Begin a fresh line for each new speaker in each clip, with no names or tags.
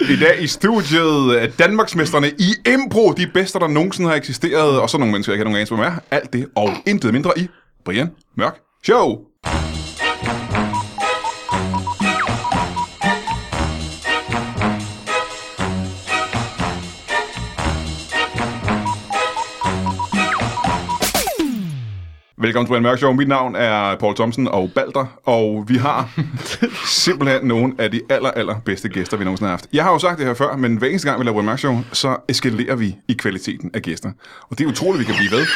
I dag i studiet øh, Danmarksmesterne i Impro, de bedste, der nogensinde har eksisteret, og så nogle mennesker, jeg ikke har nogen anelse, hvem er. Alt det og intet mindre i Brian Mørk Show. Velkommen til Brian Mørk Show. Mit navn er Paul Thomsen og Balder, og vi har simpelthen nogle af de aller, aller bedste gæster, vi nogensinde har haft. Jeg har jo sagt det her før, men hver eneste gang, vi laver Brian Mørk Show, så eskalerer vi i kvaliteten af gæster. Og det er utroligt, vi kan blive ved.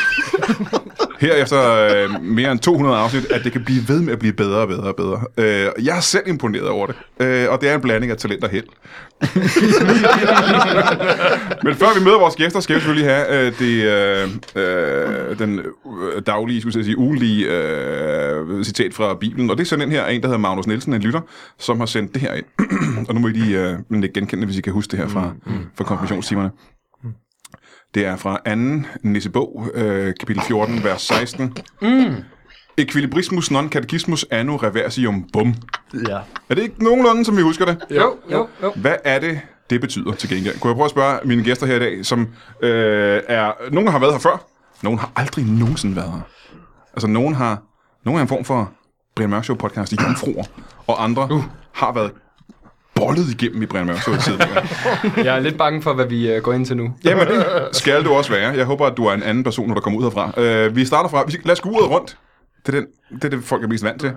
Her efter øh, mere end 200 afsnit, at det kan blive ved med at blive bedre og bedre og bedre. Øh, jeg er selv imponeret over det, øh, og det er en blanding af talent og held. Men før vi møder vores gæster, skal vi selvfølgelig have øh, det, øh, øh, den øh, daglige, skulle jeg sige, ugenlige øh, citat fra Bibelen. Og det er sådan en her af en, der hedder Magnus Nielsen, en lytter, som har sendt det her ind. og nu må I lige øh, nikke genkende, hvis I kan huske det her fra, fra konfirmationstimerne. Det er fra anden Nissebog, øh, kapitel 14, vers 16. Mm. Equilibrismus non catechismus anno reversium bum.
Ja.
Er det ikke nogenlunde, som vi husker det?
Jo, jo, jo.
Hvad er det, det betyder til gengæld? Kunne jeg prøve at spørge mine gæster her i dag, som øh, er... Nogen har været her før, nogen har aldrig nogensinde været her. Altså, nogen har... Nogen er en form for Brian Mørk Show podcast i jomfruer, og andre uh. har været bollet igennem i Brian Mørk Show tidligere.
Jeg er lidt bange for, hvad vi øh, går ind til nu.
Jamen, det skal du også være. Jeg håber, at du er en anden person, når du kommer ud herfra. Øh, vi starter fra... Vi skal, lad os gå uret rundt. Det er, den, det er det, folk er mest vant til.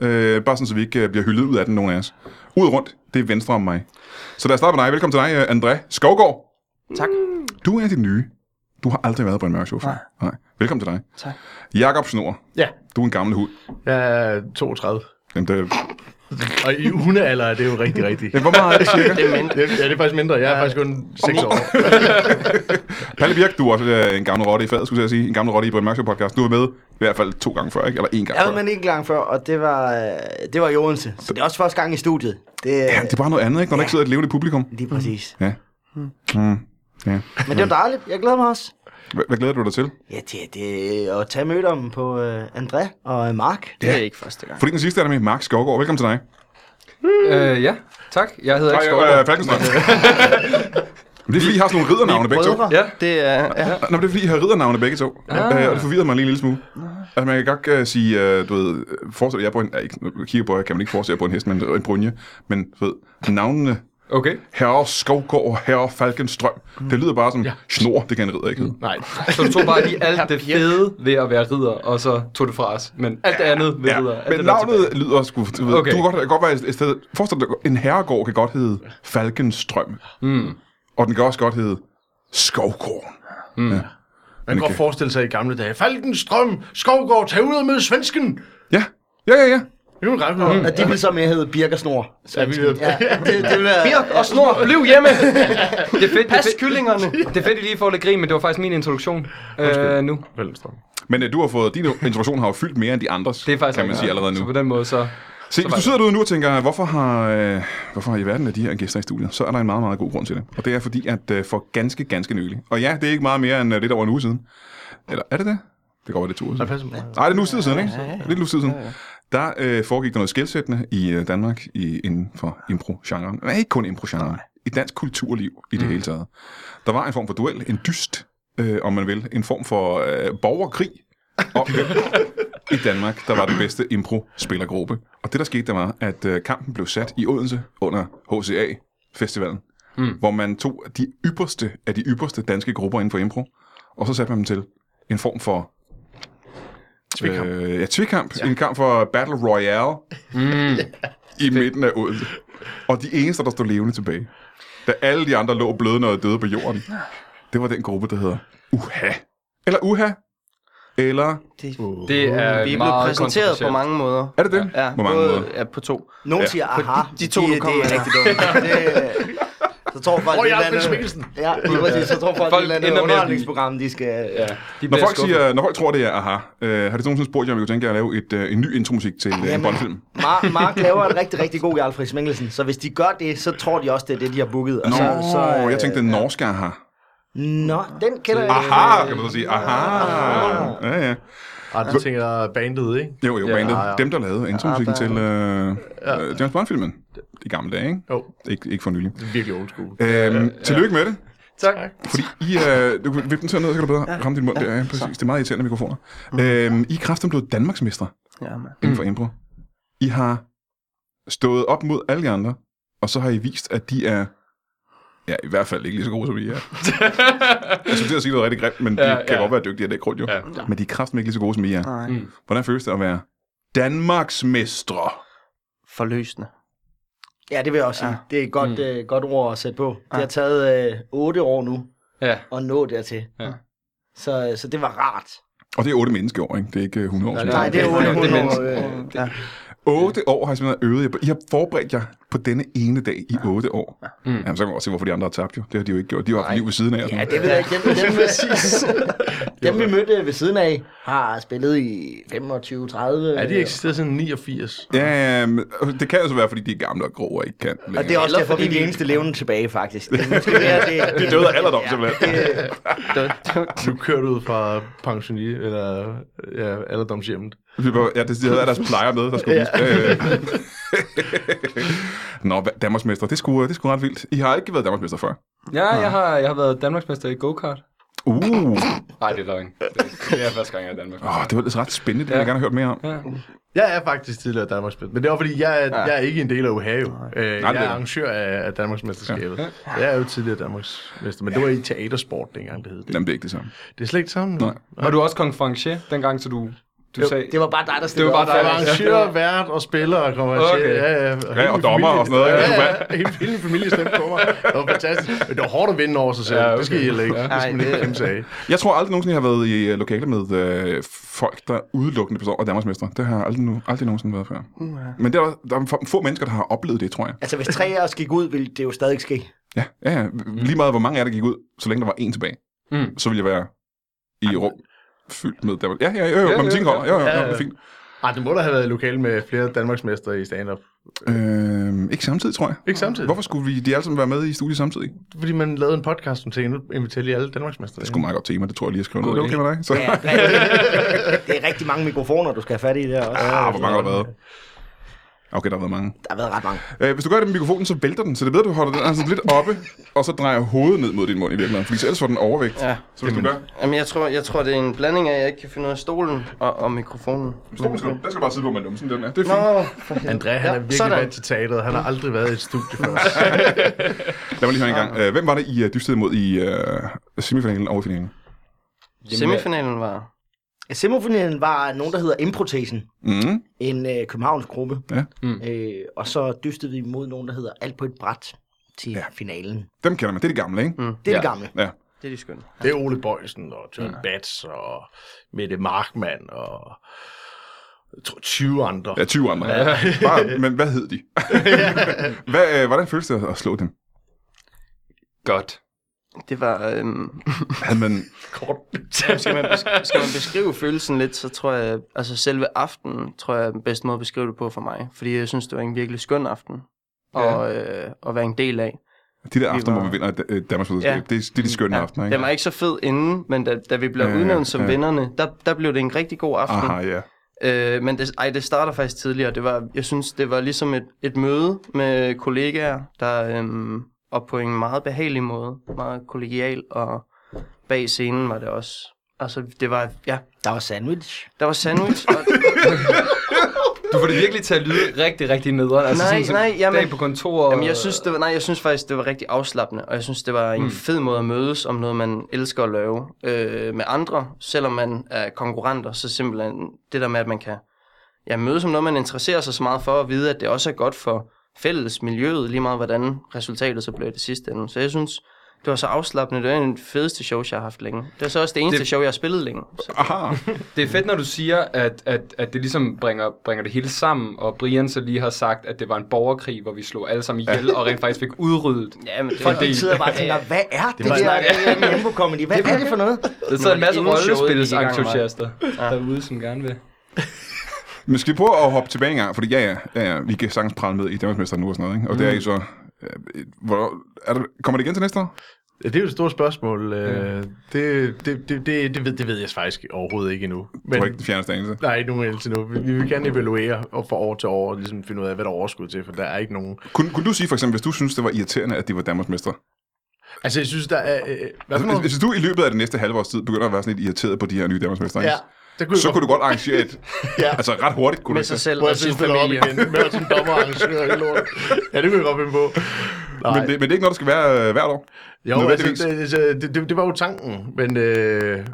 Ja. Øh, bare sådan, så vi ikke øh, bliver hyldet ud af den, nogen af os. Uret rundt, det er venstre om mig. Så lad os starte med dig. Velkommen til dig, øh, André Skovgaard.
Tak.
Du er det nye. Du har aldrig været på en mørk show før.
Nej.
Nej. Velkommen til dig.
Tak.
Jakob Snor.
Ja,
Du er en gammel hud.
jeg er 32.
Jamen, det,
Og i hundealder er det jo rigtig, rigtig.
hvor meget er det cirka?
Det er mindre.
Det, ja, det er faktisk mindre. Jeg er faktisk kun 6 år.
Palle Birk, du er også øh, en gammel rotte i faget, skulle jeg sige. En gammel rotte i Brian Mørk Show podcast. Du var med i hvert fald to gange før, ikke? Eller en gang
Jeg
før.
var med en gang før, og det var, øh, det var i Odense. Så det er også første gang i studiet. Det,
Ja, det er bare noget andet, ikke? Når der ikke sidder et levende publikum.
Lige præcis. Hmm.
Ja. Mm. Ja.
Men det var dejligt. Jeg glæder mig også.
Hvad, hvad glæder du dig til?
Ja, det, det er at tage mødet om på øh, André og øh, Mark.
Ja.
Det er ikke første gang.
Fordi den sidste er der med Mark Skovgaard. Velkommen til dig.
Øh, ja, tak. Jeg hedder ikke
Nej, øh,
Skovgaard.
Falkenstrøm. Men det er fordi, I har sådan nogle riddernavne begge to.
Brødre.
Ja, det er... Ja.
Nå, men det er fordi, I har riddernavne begge to. Ah.
Ah.
Øh, og det forvirrer mig lige en lille smule. Altså, man kan godt øh, sige, øh, du ved, øh, forestil jer på en, ja, ikke, nu kigger på jer, kan man ikke forestille jer på en hest, men øh, en brunje. Men, du ved, navnene
Okay,
herre Skovgård og herre Falkenstrøm, det lyder bare som Mm. ja. Mm. snor, det kan en ridder ikke hedde.
Nej.
så du tog bare lige alt det fede ved at være ridder, og så tog det fra os. Men alt det andet ved
Ja,
ridder. alt
men
det der tilbage.
navnet lyder sgu... Du, ved, okay.
Okay.
du kan godt, godt være et- et sted... Forestil dig, en herregård kan godt hedde Falkenstrøm. Mm.
Hmm.
Og den kan også godt hedde Skovgården. Mm. Ja.
Man kan
Okay.
godt forestille sig i gamle dage. Falkenstrøm, Skovgård, tag ud og mød svensken.
ja, ja, ja, ja.
Det er jo en ret mm.
Og de ville så mere hedde Birk og Snor. Så,
Ja, vi ved.
ja, det, det ville være...
Birk og Snor, bliv hjemme!
Det er fedt, det er
Pas
fedt,
kyllingerne!
det er fedt, I lige får lidt grin, men det var faktisk min introduktion øh, nu.
Men øh, du har fået, din introduktion har jo fyldt mere end de andres,
Det er faktisk
kan man
rigtigt.
sige allerede nu.
Så på den måde, så...
Se, hvis
var
du
det.
sidder derude nu og tænker, hvorfor har, øh, hvorfor har i verden af de her gæster i studiet, så er der en meget, meget god grund til det. Og det er fordi, at øh, for ganske, ganske nylig, og ja, det er ikke meget mere end øh, lidt over en uge siden, eller er det det? Det går over lidt to uger siden.
passer mig.
Nej, det er en uge tid siden, ikke? Lidt en uge tid siden. Der øh, foregik der noget skældsættende i øh, Danmark i, inden for impro-genren. Nej, Mm. ikke kun impro-genren. I dansk kulturliv i det hele taget. Der var en form for duel, en dyst, øh, om man vil. En form for øh, borgerkrig. Og, i Danmark, der var den bedste impro-spillergruppe. Og det, der skete, der var, at øh, kampen blev sat i Odense under HCA-festivalen, mm. hvor man tog de ypperste af de ypperste danske grupper inden for impro, og så satte man dem til en form for...
Tvikkamp.
Øh, ja, tvikamp. Ja. En kamp for Battle Royale mm. i midten af Odense. Og de eneste, der stod levende tilbage, da alle de andre lå blødende og døde på jorden, det var den gruppe, der hedder Uha. Eller Uha. Eller...
Det er
Vi er blevet
meget
præsenteret på
kontroversielt.
mange måder.
Er det det?
Ja,
På mange
både,
måder.
Ja, på to.
Nogen
Ja.
siger, aha,
de to, du
det,
kom
det er
med.
rigtig dumt. Det, øh, så tror folk,
Hvor
det
er
er et
Alfred
eller andet-
Mikkelsen?
Ja, lige præcis. Så tror folk,
Folk
folk det er et eller andet
ender med at blive-
underholdningsprogram, de skal... Ja.
De
Når
bliver
folk,
skuffet.
siger, når folk tror, det er aha, øh, har det nogensinde spurgt jer, om I kunne tænke jer at lave et, øh, en ny intromusik til øh, en
Jamen.
Bondfilm?
Mark, Mark laver en rigtig, rigtig god i Alfred Mikkelsen, så hvis de gør det, så tror de også, det er det, de har booket. Og
Nå,
så, så, øh,
jeg tænkte den norske aha.
Nå, den kender jeg Øh, ikke.
Aha, kan man så sige. Aha. Ja, ja.
Ah, du tænker bandet, ikke?
Jo, jo,
Ja,
bandet.
ja.
Dem, der lavede intromusikken til øh, øh, James Bond-filmen. i gamle dage, ikke?
Jo,
Ikke, ikke for nylig.
det er virkelig old school.
Øhm, tillykke med det.
Tak.
Fordi I, øh, du kan vippe den til ned, så kan du bedre ramme din mund der. Ja, præcis. Det er meget irriterende mikrofoner. Øhm, I er kraften blevet Danmarksmestre
Ja, man.
inden for impro. I har stået op mod alle de andre, og så har I vist, at de er Ja, i hvert fald ikke lige så gode, som I er. jeg skulle til at sige noget rigtig grimt, men de ja,
Ja,
kan
ja.
godt være dygtige af det grund, jo. Ja.
Ja.
Men de er kraften ikke lige så gode, som I er.
Nej.
Hvordan føles det at være Danmarksmestre?
Forløsende.
Ja, det vil jeg også sige.
Ja.
Det er et godt, mm. øh, godt ord at sætte på. Det har taget øh, 8 år nu
Ja.
at nå dertil.
Ja.
Så, øh, så det var rart.
Og det er otte menneskeår, ikke? Det er ikke øh, 100 år.
Nej,
siden.
Nej, det er
det-
8
det- det-
år.
det-
øh,
Ja.
Otte år har I simpelthen øvet jer. på- I har forberedt jer på denne ene dag i otte år. Mm. Jamen, så kan man også se, hvorfor de andre har tabt jo. Det har de jo ikke gjort. De har haft liv ved siden af. og sådan
Ja,
noget.
det ved jeg ikke. Dem, dem, øh, dem vi mødte ved siden af, har spillet i øh, 25-30.
Ja, de eksisterede siden 89.
Ja, ja, men og det kan jo så være, fordi de er gamle og grå og ikke kan.
Og det er også
Eller
derfor, vi er
fordi
de
vi-
eneste levende tilbage, faktisk. Det, er måske mere det,
De døde af alderdom, simpelthen.
det-
Du kørte ud fra pensioni, eller ja, alderdomshjemmet.
også... Ja, det, de havde deres plejer med, der skulle vise. Ja, ja. Nå, hva- Danmarksmester, det skulle, det skulle ret vildt. I har ikke været Danmarksmester før.
Ja, jeg har, jeg har været Danmarksmester i go-kart.
Uh,
Nej, det er løgn. Det er første gang, jeg er Danmark.
oh, det var ellers ret spændende, det vil jeg
Ja.
gerne have hørt mere om.
Ja.
Jeg er faktisk tidligere Danmarksmester, men det var fordi, jeg er, ja. jeg er ikke en del af Ohio. Øh,
det er
jeg er
det.
arrangør af, af Danmarksmesterskabet. Ja. Jeg er jo tidligere Danmarksmester, men det var i teatersport dengang, det hed det.
Jamen, det er ikke det samme.
Det er slet ikke sammen.
Nej.
Var du også kong Franché, dengang, så du, du
det-
sagde...
Det var bare dig, der
Det
stillede
var bare
op. Altså,
dig.
Jeg var
Ja.
arrangør, vært og spiller og kommer
Okay.
ja, ja, og,
Ja, og dommer og sådan noget,
Ja,
ikke?
ja, ja. Hele, hele min familie stemte på mig. Det var fantastisk. Men det var hårdt at vinde over sig selv.
Ja,
Ja,
okay.
Det skal I heller ikke.
Ja.
Det skal man
Ej,
ikke
det-
kæmpe sig af.
Jeg tror aldrig nogensinde, jeg har været i øh, lokaler med øh, folk, der udelukkende består af Danmarksmester. Det har jeg aldrig, nu, aldrig nogensinde været før. Men der, er- der er få- få mennesker, der har oplevet det, tror jeg.
Altså, hvis tre af os gik ud, ville det jo stadig ske.
Ja, ja, ja. Lige meget, hvor mange af der gik ud, så længe der var en tilbage,
Mm.
så ville jeg være i et rum fyldt med Danmark. Ja, ja, jo, jo,
Ja,
når man
ja,
tænker over, det. jo, jo,
ja,
jo,
ja.
det er fint.
Ej, det må da have været lokal med flere Danmarksmester i stand-up.
Øh, ikke samtidig, tror jeg.
Ikke samtidig.
Hvorfor skulle vi de alle sammen være med i studiet samtidig? Det
Fordi man lavede en podcast om ting, nu inviterer lige alle Danmarksmester.
er sgu meget godt tema, det tror jeg lige, jeg skriver ned.
God
Det er okay med dig? Så,
Ja, rigtig- det er rigtig mange mikrofoner, du skal have fat i der også.
ah, hvor mange har der været? Okay, der har været mange.
Der har været ret mange.
Øh, hvis du gør det med mikrofonen, så vælter den, så det ved du, holder den altså lidt oppe, og så drejer hovedet ned mod din mund i virkeligheden, fordi ellers får den overvægt.
Ja.
Så hvis du gør,
Jamen, jeg tror, jeg tror, det er en blanding af, at jeg ikke kan finde ud af stolen og, og mikrofonen.
stolen skal, du- den skal du bare sidde på med numsen, den er. Det er fint.
Nå,
André, han er
Ja,
virkelig
sådan. Mm.
vant til teateret. Han har aldrig været i et studie før.
Lad mig lige høre en gang. Øh, Hvem var det, I øh, dystede mod i øh, semifinalen og finalen?
semifinalen var...
Semifinalen var nogen, der hedder Improtesen.
Mm.
En øh, Københavns gruppe.
Ja.
Mm.
Øh, og så dystede vi mod nogen, der hedder Alt på et bræt til ja. finalen.
Dem kender man. Det er de gamle, ikke? Mm.
Det er ja. det gamle.
Ja.
Det er de skønne.
Det er Ole Bøjsen og John Bats og Mette Markmann og jeg tror, 20 andre.
ja, 20 andre. Ja. Bare, men hvad hed de? hvad, øh, hvordan føles det at slå dem?
Godt.
Det var... Øhm,
Havde man...
Kort.
skal, man bes- skal man beskrive følelsen lidt, så tror jeg... Altså, selve aftenen, tror jeg, er den bedste måde at beskrive det på for mig. Fordi jeg synes, det var en virkelig skøn aften. Og, øh, at være en del af.
De der aftener,
var-
hvor man vinder øh, Danmarks
Ja.
det, er- det er de skønne ja. aftener, ikke?
Den var ikke så fed inden, men da, da vi blev
Ja,
ja, udnævnt som
ja.
ja. vinderne, der, der blev det en rigtig god aften.
Aha, ja.
Øh, men det, ej, det starter faktisk tidligere. Det var, jeg synes, det var ligesom et, et møde med kollegaer, der øhm, og på en meget behagelig måde, meget kollegial, og bag scenen var det også. Altså, det var, ja,
Der var sandwich.
der var sandwich, og
Du får det virkelig til at lyde rigtig, rigtig nederen. Altså
Nej,
sådan, som
nej, jamen-
dag på kontor.
Jamen, jeg synes, det var, nej, jeg synes faktisk, det var rigtig afslappende, og jeg synes, det var en mm. fed måde at mødes om noget, man elsker at lave øh, med andre, selvom man er konkurrenter, så simpelthen det der med, at man kan ja, mødes om noget, man interesserer sig så meget for, og vide, at det også er godt for fælles miljøet, lige meget hvordan resultatet så blev i det sidste ende. Så jeg synes, det var så afslappende. Det var en af de fedeste shows, jeg har haft længe. Det er så også det eneste det...
Det-
show, jeg har spillet længe. Så.
Aha.
Det er fedt, når du siger, at, at, at det ligesom bringer, bringer det hele sammen, og Brian så lige har sagt, at det var en borgerkrig, hvor vi slog alle sammen ihjel, og rent faktisk fik udryddet.
Ja, men det
Folk,
var...
de-
Jeg sidder bare og tænker, hvad er det, det
var-
der det der impro-comedy? Hvad er det for noget?
Der sidder en masse
inden showet gik i gang,
rollespilsentusiaster derude, som gerne vil.
Men skal vi prøve at hoppe tilbage en gang? Fordi ja, ja, ja, ja vi kan
Mm.
øh, sagtens prale med i Danmarksmester nu og sådan noget, ikke? Og det er I så... øh, Hvor, er det, kommer det igen til næste år?
Ja, Det er jo et stort spørgsmål. Ja. Det, det, det, det, det, ved, det ved jeg faktisk overhovedet ikke endnu.
Men... Tror ikke, den fjerneste anelse.
Nej, ikke nogen indtil nu. Vi vi vil gerne evaluere og fra år til år og ligesom finde ud af, hvad der er overskud til, for der er ikke nogen...
Kunne, kunne du sige for eksempel, hvis du synes, det var irriterende, at de var Danmarks mestre?
Altså, jeg synes, der er... Øh, hvad for
Altså, hvis,
noget?
hvis du i løbet af det næste halve års tid begynder at være sådan lidt irriteret på de her nye Danmarks mestre,
Ja, der kunne
så kunne du godt arrangere et...
Ja.
Altså ret hurtigt kunne du
med
ikke
sig
det?
selv
Hvor
og
jeg
sin
synes, det op
familie.
igen. Med sådan dommerarrangør i lort. Ja, det kunne jeg godt finde på. Nej.
men, det, men det er ikke noget, der skal være øh, hvert år.
Jo,
Nødvendigvis.
altså, det, det- det, det, det var jo tanken, men øh,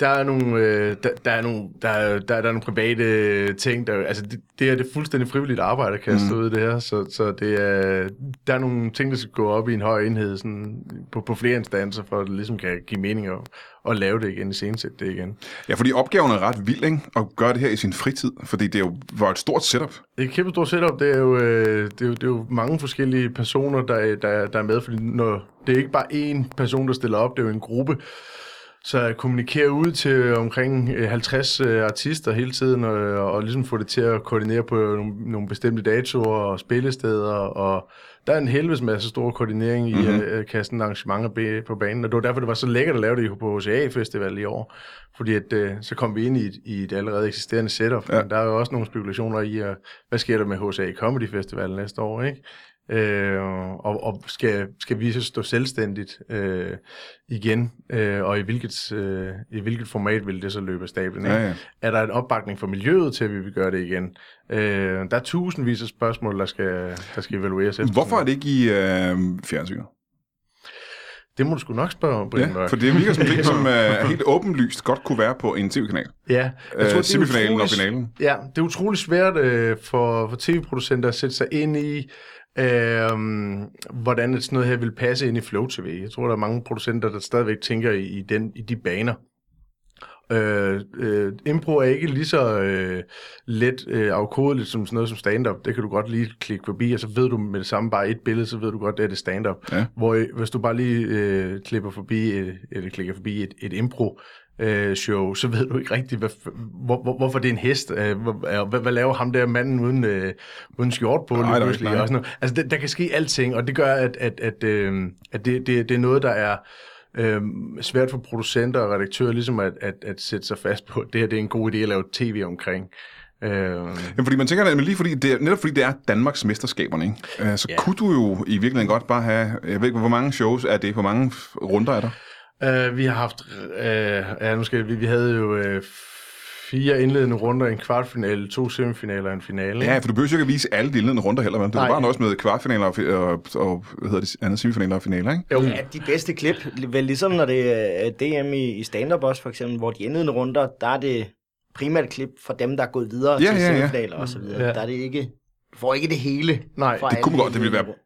der er nogle, øh, der, der er nogle, der, er- der, er- der er nogle private ting, der, altså det, det er det er fuldstændig frivilligt arbejde, kan jeg stå ud i det her, så, så det er, der er nogle ting, der skal gå op i en høj enhed, sådan, på, på flere instanser, for at det ligesom kan give mening og, og lave det igen, i senesæt det igen.
Ja, fordi opgaven er ret vild, ikke? At gøre det her i sin fritid, fordi det jo var et stort setup.
Det er et kæmpe stort setup. Det er jo, øh, det er jo, det er jo mange forskellige personer, der, der, der er med. Fordi når, det er ikke bare én person, der stiller op. Det er jo en gruppe. Så jeg kommunikerer ud til omkring øh, 50 øh, artister hele tiden, og, og ligesom få det til at koordinere på nogle, nogle bestemte datoer og spillesteder. Og der er en helvedes masse stor koordinering i mm-hmm. at kaste sådan arrangementer be- på banen. Og det var derfor, det var så lækkert at lave det på HCA Festival i år. Fordi at, øh, så kom vi ind i et, i et allerede eksisterende setup. Ja. Men der er jo også nogle spekulationer i, øh, hvad sker der med HCA Comedy Festival næste år, ikke? Øh, og, og skal, skal vi så stå selvstændigt øh, igen, øh, og i hvilket, øh, i hvilket format vil det så løbe af stablen? ikke?
Ja, ja.
Er der en opbakning fra miljøet til, at vi vil gøre det igen? Øh, der er tusindvis af spørgsmål, der skal, der skal evalueres efter.
Hvorfor er det ikke i øh, fjernsynet?
Det må du sgu nok spørge om, Brian
Ja,
Mørk.
for det virker som en ting, som øh, helt åbenlyst godt kunne være på en tv-kanal.
Ja,
Øh,
det er
semifinalen og
utrolig-
finalen.
Ja, det er utrolig svært øh, for, for tv-producenter at sætte sig ind i, øh, hvordan et sådan noget her vil passe ind i Flow TV. Jeg tror, der er mange producenter, der stadigvæk tænker i, i, den, i de baner. Øh, øh, impro er ikke lige så øh, let øh, afkodeligt som sådan noget som stand-up. Det kan du godt lige klikke forbi, og så ved du med det samme bare et billede, så ved du godt, det er det stand-up.
Ja.
Hvor øh, hvis du bare lige øh, klipper forbi, øh, eller klikker forbi et, et impro, øh, show, så ved du ikke rigtigt, hvad, f- hvor, hvor, hvorfor det er en hest. Øh, hvor- hvad, hvad laver ham der manden uden, øh, uden skjort på?
Nej,
lige
der er
pludselig,
ikke- nej.
og sådan noget. Altså, der, der kan ske alting, og det gør, at, at, at, øh, at det, det, det er noget, der er øh, svært for producenter og redaktører ligesom at, at, at sætte sig fast på, at det her det er en god idé at lave tv omkring. Øh,
Jamen, fordi man tænker, at lige fordi det er, netop fordi det er Danmarks mesterskaberne, ikke? Øh, så
Ja.
kunne du jo i virkeligheden godt bare have, jeg ved ikke, hvor mange shows er det, hvor mange f- runder er der?
Uh, vi har haft, uh, ja, nu skal jeg, vi, vi havde jo uh, fire indledende runder, en kvartfinale, to semifinaler og en finale.
Ja, for du behøver jo ikke at vise alle de indledende runder heller, men du kan
Nej.
bare nøjes med kvartfinaler og, fi- og, og, hvad hedder det, andet semifinaler og finaler, ikke?
Jo,
Ja, de bedste klip, vel ligesom når det er DM i, i stand-up også for eksempel, hvor de indledende runder, der er det primært klip fra dem, der er gået videre
Ja,
til
ja, ja.
semifinaler og så videre.
Ja.
Der er det ikke, du får ikke det hele.
Nej,
fra
det
alle
kunne
de
godt- det ville
indledende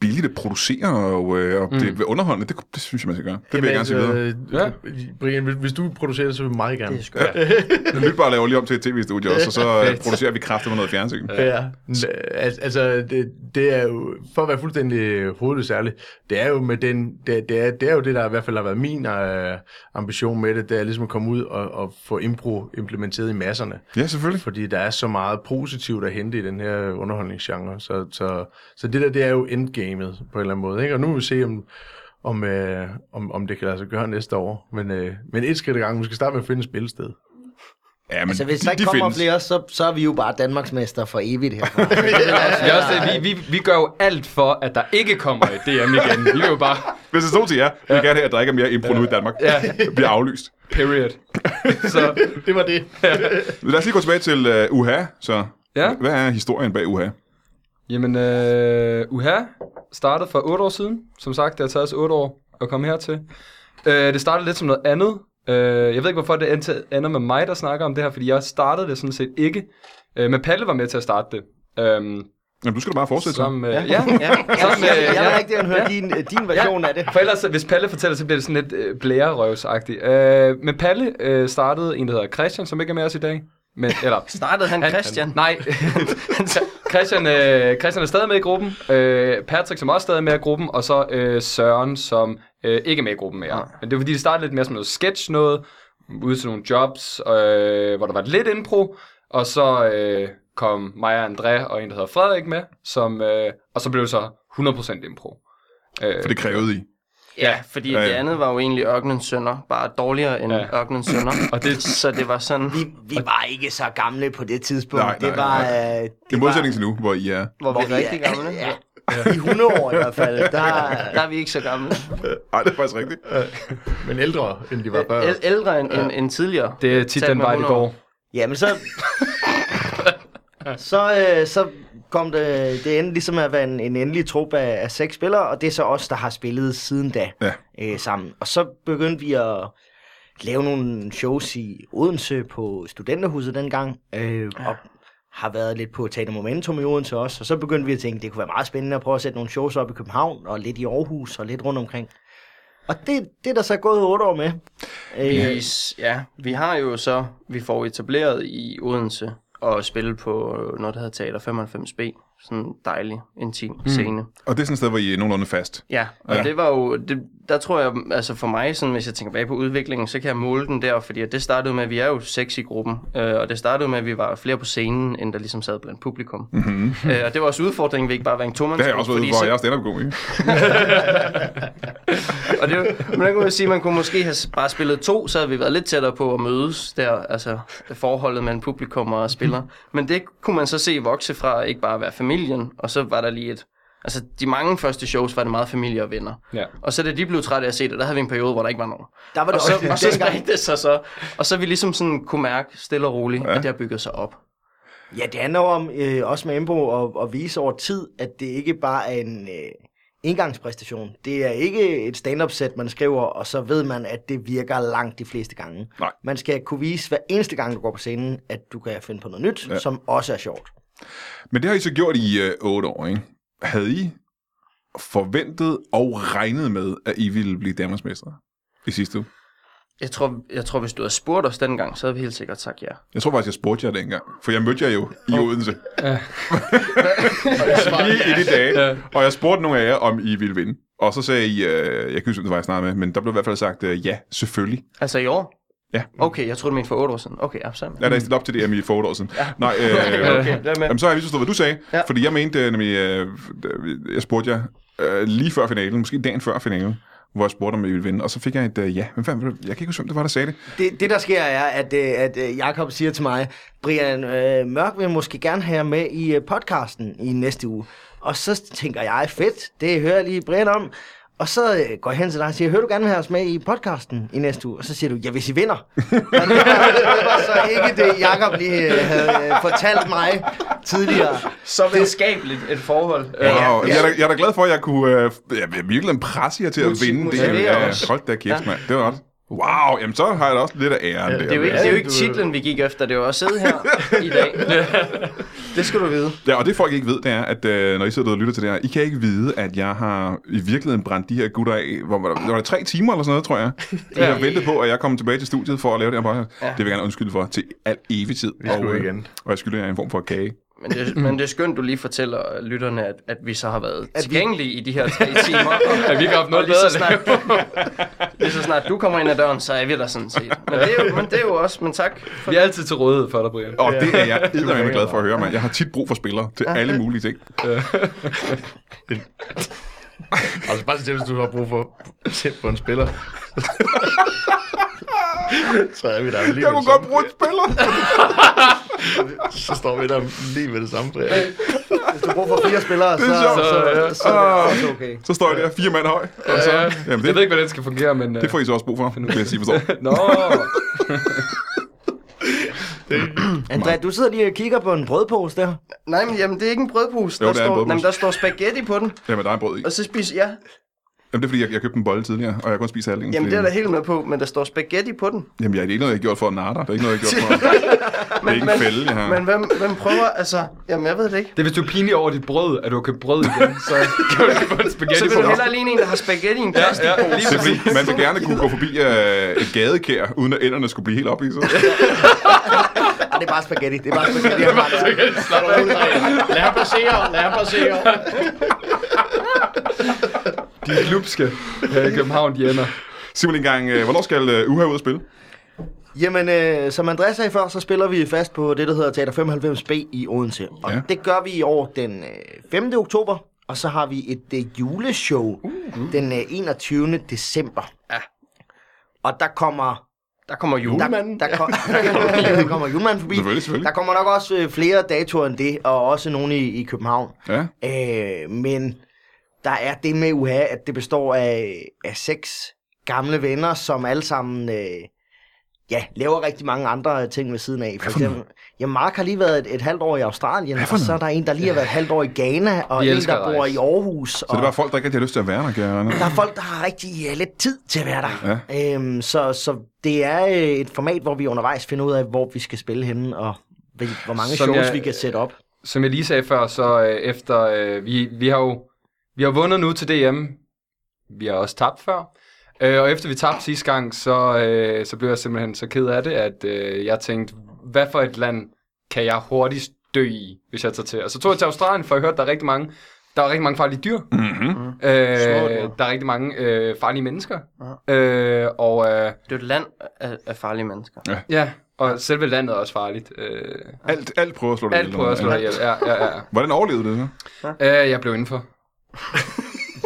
Billigt at producere og, øh, og mm. det er underholdende, det, kunne- det synes jeg, man skal gøre. Det vil jeg gerne
øh,
sige videre.
gerne sige videre. Ja. Brian, hvis- hvis du producerer det, så vil vi meget gerne.
runder. Det er skørt.
Lyt bare laver lige om til et tv-studie også, og så øh, producerer vi kraftigt med noget fjernsyn.
Ja, N- al- altså det, det er jo, for at være fuldstændig øh, hovedløs ærlig, det er jo med den, det, det, er, det er jo det, der i hvert fald har været min øh, ambition med det, det er ligesom at komme ud og, og få impro implementeret i masserne.
Ja, selvfølgelig.
Fordi der er så meget positivt at hente i den her underholdningsgenre. Så, så, så det der, det er jo endgamet på en eller anden måde. Ikke? Og nu vil vi se, om, om, øh, om, om det kan lade sig gøre næste år. Men, øh, men et skridt ad gangen. Vi skal starte med at finde et spillested.
Ja, men
Altså, hvis der ikke kommer flere, så, så er vi jo bare Danmarksmester for evigt herfra.
Det er også, det, vi, vi, vi gør jo alt for, at der ikke kommer et DM igen. Vi vil jo bare,
Hvis det stod til jer, vi vil gerne have, at der ikke er mere impro nu i Danmark. Ja. bliver aflyst.
period. Så
Det var det.
Lad os lige gå tilbage til uh, UHA, så.
Ja.
Hvad er historien bag UHA?
Jamen, øh, UHA startede for 8 år siden. Som sagt, det har taget os 8 år at komme hertil. Øh, det startede lidt som noget andet. Øh, jeg ved ikke, hvorfor det endte- ender med mig, der snakker om det her, fordi jeg startede det sådan set ikke. Øh, men Palle var med til at starte det. Øhm,
Jamen, du skal da bare fortsætte. så.
sammen med, ja. ja.
Ja,
Sammen med,
jeg, jeg, jeg vil
ja.
rigtig gerne høre din, din version af det.
For ellers, hvis Palle fortæller, så bliver det sådan lidt øh, blærerøvsagtigt. Øh, men Palle øh, startede en, der hedder Christian, som ikke er med os i dag. Men, eller,
startede han Christian?
Nej. Christian, øh, Christian er stadig med i gruppen. Øh, Patrick, som også stadig er med i gruppen. Og så øh, Søren, som øh, ikke er med i gruppen mere. Men det er fordi, det startede lidt mere som noget sketch noget. Ude til nogle jobs, øh, hvor der var lidt impro. Og så øh, kom mig og André og en, der hedder Frederik med. Som, øh, og så blev det så 100% impro. Øh,
For det krævede I.
Ja, fordi
Ja,
ja,
ja.
det andet var jo egentlig Ørkenens Sønder, bare dårligere end
Ja.
ja. Ørkenens Sønder.
Og det-
Så det var sådan,
Vi, vi var ikke så gamle på det tidspunkt.
Nej, nej,
det var,
nej.
øh, det
I
var-
modsætning til nu, hvor I er...
hvor,
hvor
vi er rigtig
er-
gamle.
Ja, I 100 år i hvert fald. Der,
Der er vi ikke så gamle.
Ej, det er faktisk rigtigt.
Men ældre, end de var før.
Æl- ældre end, end, end tidligere.
Det er tit
Talt
den
med
vej, det
100 år.
går.
jamen så... så, øh, så kom det, det endte ligesom at være en, en endelig trup af, af seks spillere, og det er så os, der har spillet siden da
Ja.
øh, sammen. Og så begyndte vi at lave nogle shows i Odense på studenterhuset dengang, øh, og har været lidt på Teater Momentum i Odense også, og så begyndte vi at tænke, det kunne være meget spændende at prøve at sætte nogle shows op i København, og lidt i Aarhus, og lidt rundt omkring. Og det, det er der så gået otte år med. Øh,
Vi, ja, vi har jo så, vi får etableret i Odense og spille på noget, der hedder Teater 95B. Sådan en dejlig, intim
Mm.
scene.
Og det er sådan et sted, hvor I er nogenlunde fast.
Ja, og
Ja.
ja. det var jo, det, der tror jeg, altså for mig, sådan, hvis jeg tænker bag på udviklingen, så kan jeg måle den der, fordi at det startede med, at vi er jo seks i gruppen, øh, og det startede med, at vi var flere på scenen, end der ligesom sad blandt publikum. Mm-hmm. Øh, og det var også udfordringen, vi ikke bare var en
Mhm. Det har jeg
tomandsgruppe,
også været,
fordi
hvor
så
jeg er stand-up-komiker.
Og det, men der kunne man sige, at man kunne måske have bare spillet to, så havde vi været lidt tættere på at mødes der, altså forholdet mellem publikum og spiller. Men det kunne man så se vokse fra ikke bare at være familien, og så var der lige et... Altså, de mange første shows var det meget familie og venner.
Ja.
Og så da de blev trætte af at se det, der havde vi en periode, hvor der ikke var nogen.
Der var det
Og så,
også
og så
dengang.
spredte det sig så. Og så vi ligesom sådan kunne mærke stille og roligt, ja. at det har bygget sig op.
Ja, det handler jo om, øh, også med Embo, at, at vise over tid, at det ikke bare er en øh, engangspræstation. Det er ikke et stand-up-sæt, man skriver, og så ved man, at det virker langt de fleste gange.
Nej.
Man skal kunne vise hver eneste gang, du går på scenen, at du kan finde på noget nyt,
Ja.
ja. som også er sjovt.
Men det har I så gjort i øh, 8 år, ikke? Havde I forventet og regnet med, at I ville blive Danmarksmestre i sidste uge?
Jeg tror, jeg tror, hvis du havde spurgt os dengang, så havde vi helt sikkert sagt ja.
Jeg tror faktisk, jeg spurgte jer dengang, for jeg mødte jer jo i Odense. Lige i de dage. Og jeg spurgte nogle af jer, om I ville vinde. Og så sagde I, øh, jeg kan ikke huske, om det var jeg snakkede med, men der blev i hvert fald sagt, øh, ja, selvfølgelig.
Altså i år?
Ja.
Okay, jeg troede, du mente for otte år siden. Okay, ja, sammen.
Jeg er stillet op til det, Emil, for otte år siden. Nej, øh,
Okay, der er med.
Jamen, så har jeg lige forstået, hvad du sagde. Ja.
Ja.
Fordi jeg mente øh, nemlig, øh, øh, jeg spurgte jer øh, lige før finalen, måske dagen før finalen, hvor jeg spurgte, om I ville vinde. Og så fik jeg et øh, ja. Men fanden, jeg kan ikke huske, hvem det var, der sagde det.
Det, det der sker er, at, øh, at øh, Jakob siger til mig, Brian øh, Mørk vil måske gerne have jer med i øh, podcasten i næste uge. Og så tænker jeg, fedt, det hører jeg lige Brian om. Og så øh, går jeg hen til dig og siger, hører du gerne vil have os med i podcasten i næste uge? Og så siger du, ja, hvis I vinder. Og det var, det var så ikke det, Jakob lige øh, havde øh, fortalt mig tidligere.
Så venskabeligt et forhold.
Ja,
Øh,
ja, ja. Jeg, er da, jeg er da glad for, at jeg kunne øh, jeg, jeg virkelig presse jer til at
Motiv-
vinde det.
motivere
Ja,
os.
hold da kæft, ja. mand. Det var ret. Wow, jamen så har jeg da også lidt af æren ja, der.
Det er jo ikke, det er jo ikke
du-
titlen, vi gik efter, det var at sidde her i dag. Det skal du vide.
Ja, og det folk ikke ved, det er, at øh, når I sidder derude og lytter til det her, I kan ikke vide, at jeg har i virkeligheden brændt de her gutter af. Hvor, var, der, var det tre timer eller sådan noget, tror jeg? ja. Jeg ventede på, at jeg kom tilbage til studiet for at lave det her podcast. Ja. Det vil jeg gerne undskylde for til al evig tid. Vi
skulle
og, øh,
igen.
Og jeg skylder jer en form for kage.
Men det, men det er skønt, du lige fortæller lytterne, at, at vi så har været
vi-
tilgængelige i de her tre timer. Og,
At vi ikke har haft
og
noget
lige, så
bedre at
snart, lige så snart du kommer ind ad døren, så er vi der sådan set. Men det er jo, men det er jo også, men tak. For,
Vi er altid til rådighed for dig, Brian.
Og det er jeg eddermame glad for at høre, mand. Jeg har tit brug for spillere til alle mulige ting.
Altså bare til, hvis du har brug for tæt på en spiller. så er vi der lige
Jeg
med det
kunne godt
samme.
bruge en spiller.
Så står vi der lige med det samme træ.
Hvis du bruger for fire spillere, så,
Det er
så,
sjovt.
så, så, så er det også okay.
Så står jeg der fire mand høj. Og så, jamen
Jeg ved
det,
ikke, hvordan det skal fungere, men... øh,
det får I så også brug for, vil jeg sige forstår.
Nå,
André, du sidder lige og kigger på en brødpose der.
nej, men jamen, det er ikke en brødpose.
Jo,
Der,
det er en
står,
brødpose.
jamen, der står spaghetti på den,
Jamen, der er brød i.
og så spiser jeg...
Jamen, det er fordi, jeg, jeg købte en bolle tidligere, og jeg kunne spise halvdelen.
Jamen,
fordi-
det er der helt med på, men der står spaghetti på den.
Jamen, jeg, det er ikke noget, jeg har gjort for at narre dig. Det er ikke noget, jeg har gjort for... det er ikke en fælde, jeg har.
Men hvem, hvem prøver, altså... Jamen, jeg ved det ikke.
det er hvis du er pinlig over dit brød, at du har købt brød igen, så kan du lige få en spaghetti
Så vil
på
du
dig.
hellere ligne en, der har spaghetti i en plastik.
Ja, lige
det er
præcis.
fordi, man vil gerne kunne gå forbi øh, et gadekær, uden at enderne skulle blive helt op i sig.
Ej, det er bare spaghetti. Det er bare spaghetti. det er bare spaghetti.
Slap af, lad ham passere, lad ham passere.
De er klubske her i øh, København, de ender.
Simon, en gang, øh, hvornår skal øh, Uha ud og spille?
Jamen, øh, som Andreas sagde før, så spiller vi fast på det, der hedder Teater 95B i Odense. Og
Ja.
ja. det gør vi i år den øh, 5. oktober. Og så har vi et øh, juleshow
Uh,
uh-huh. den øh, 21. december.
Ja.
Og der kommer
Der kommer jul.
der, der, kom, der kommer julemanden forbi.
Selvfølgelig, selvfølgelig.
Der kommer nok også øh, flere datoer end det, og også nogle i, i København.
Ja.
Øh, men der er det med UHA, at det består af, af seks gamle venner, som alle sammen øh, ja, laver rigtig mange andre ting ved siden af. For eksempel, ja, Mark har lige været et, et halvt år i Australien, og så er der en, der lige har været et halvt år i Ghana, og
Vi
en,
elsker
der
at
bor i
rejse.
Aarhus.
Så det er bare folk, der ikke rigtig har lyst til at være der, kan jeg regne ud.
Der er folk, der har rigtig ja, lidt tid til at være der. Ja. Øhm, så, så det er øh, et format, hvor vi undervejs finder ud af, hvor vi skal spille henne, og hvil- hvor mange
Som
shows
jeg-
vi kan sætte op.
Som jeg lige sagde før, så øh, efter... Øh, vi, vi har jo vi har vundet nu til DM. Vi har også tabt før. Øh, og efter vi tabte sidste gang, så, øh, så blev jeg simpelthen så ked af det, at øh, jeg tænkte, hvad for et land kan jeg hurtigst dø i, hvis jeg tager til? Og så tog jeg til Australien, for jeg hørte, der er rigtig mange, der er rigtig mange farlige dyr.
Mm-hmm.
Øh,
dyr.
der er rigtig mange øh, farlige mennesker. Øh, og øh,
Det er et land af, af farlige mennesker.
ja, og selve landet er også farligt. Øh,
Alt, alt prøver at slå dig
alt
ihjel,
prøver at slå
eller
dig
hvad?
ihjel. Ja, ja, ja.
Hvordan overlevede du det så?
Øh, jeg blev indenfor.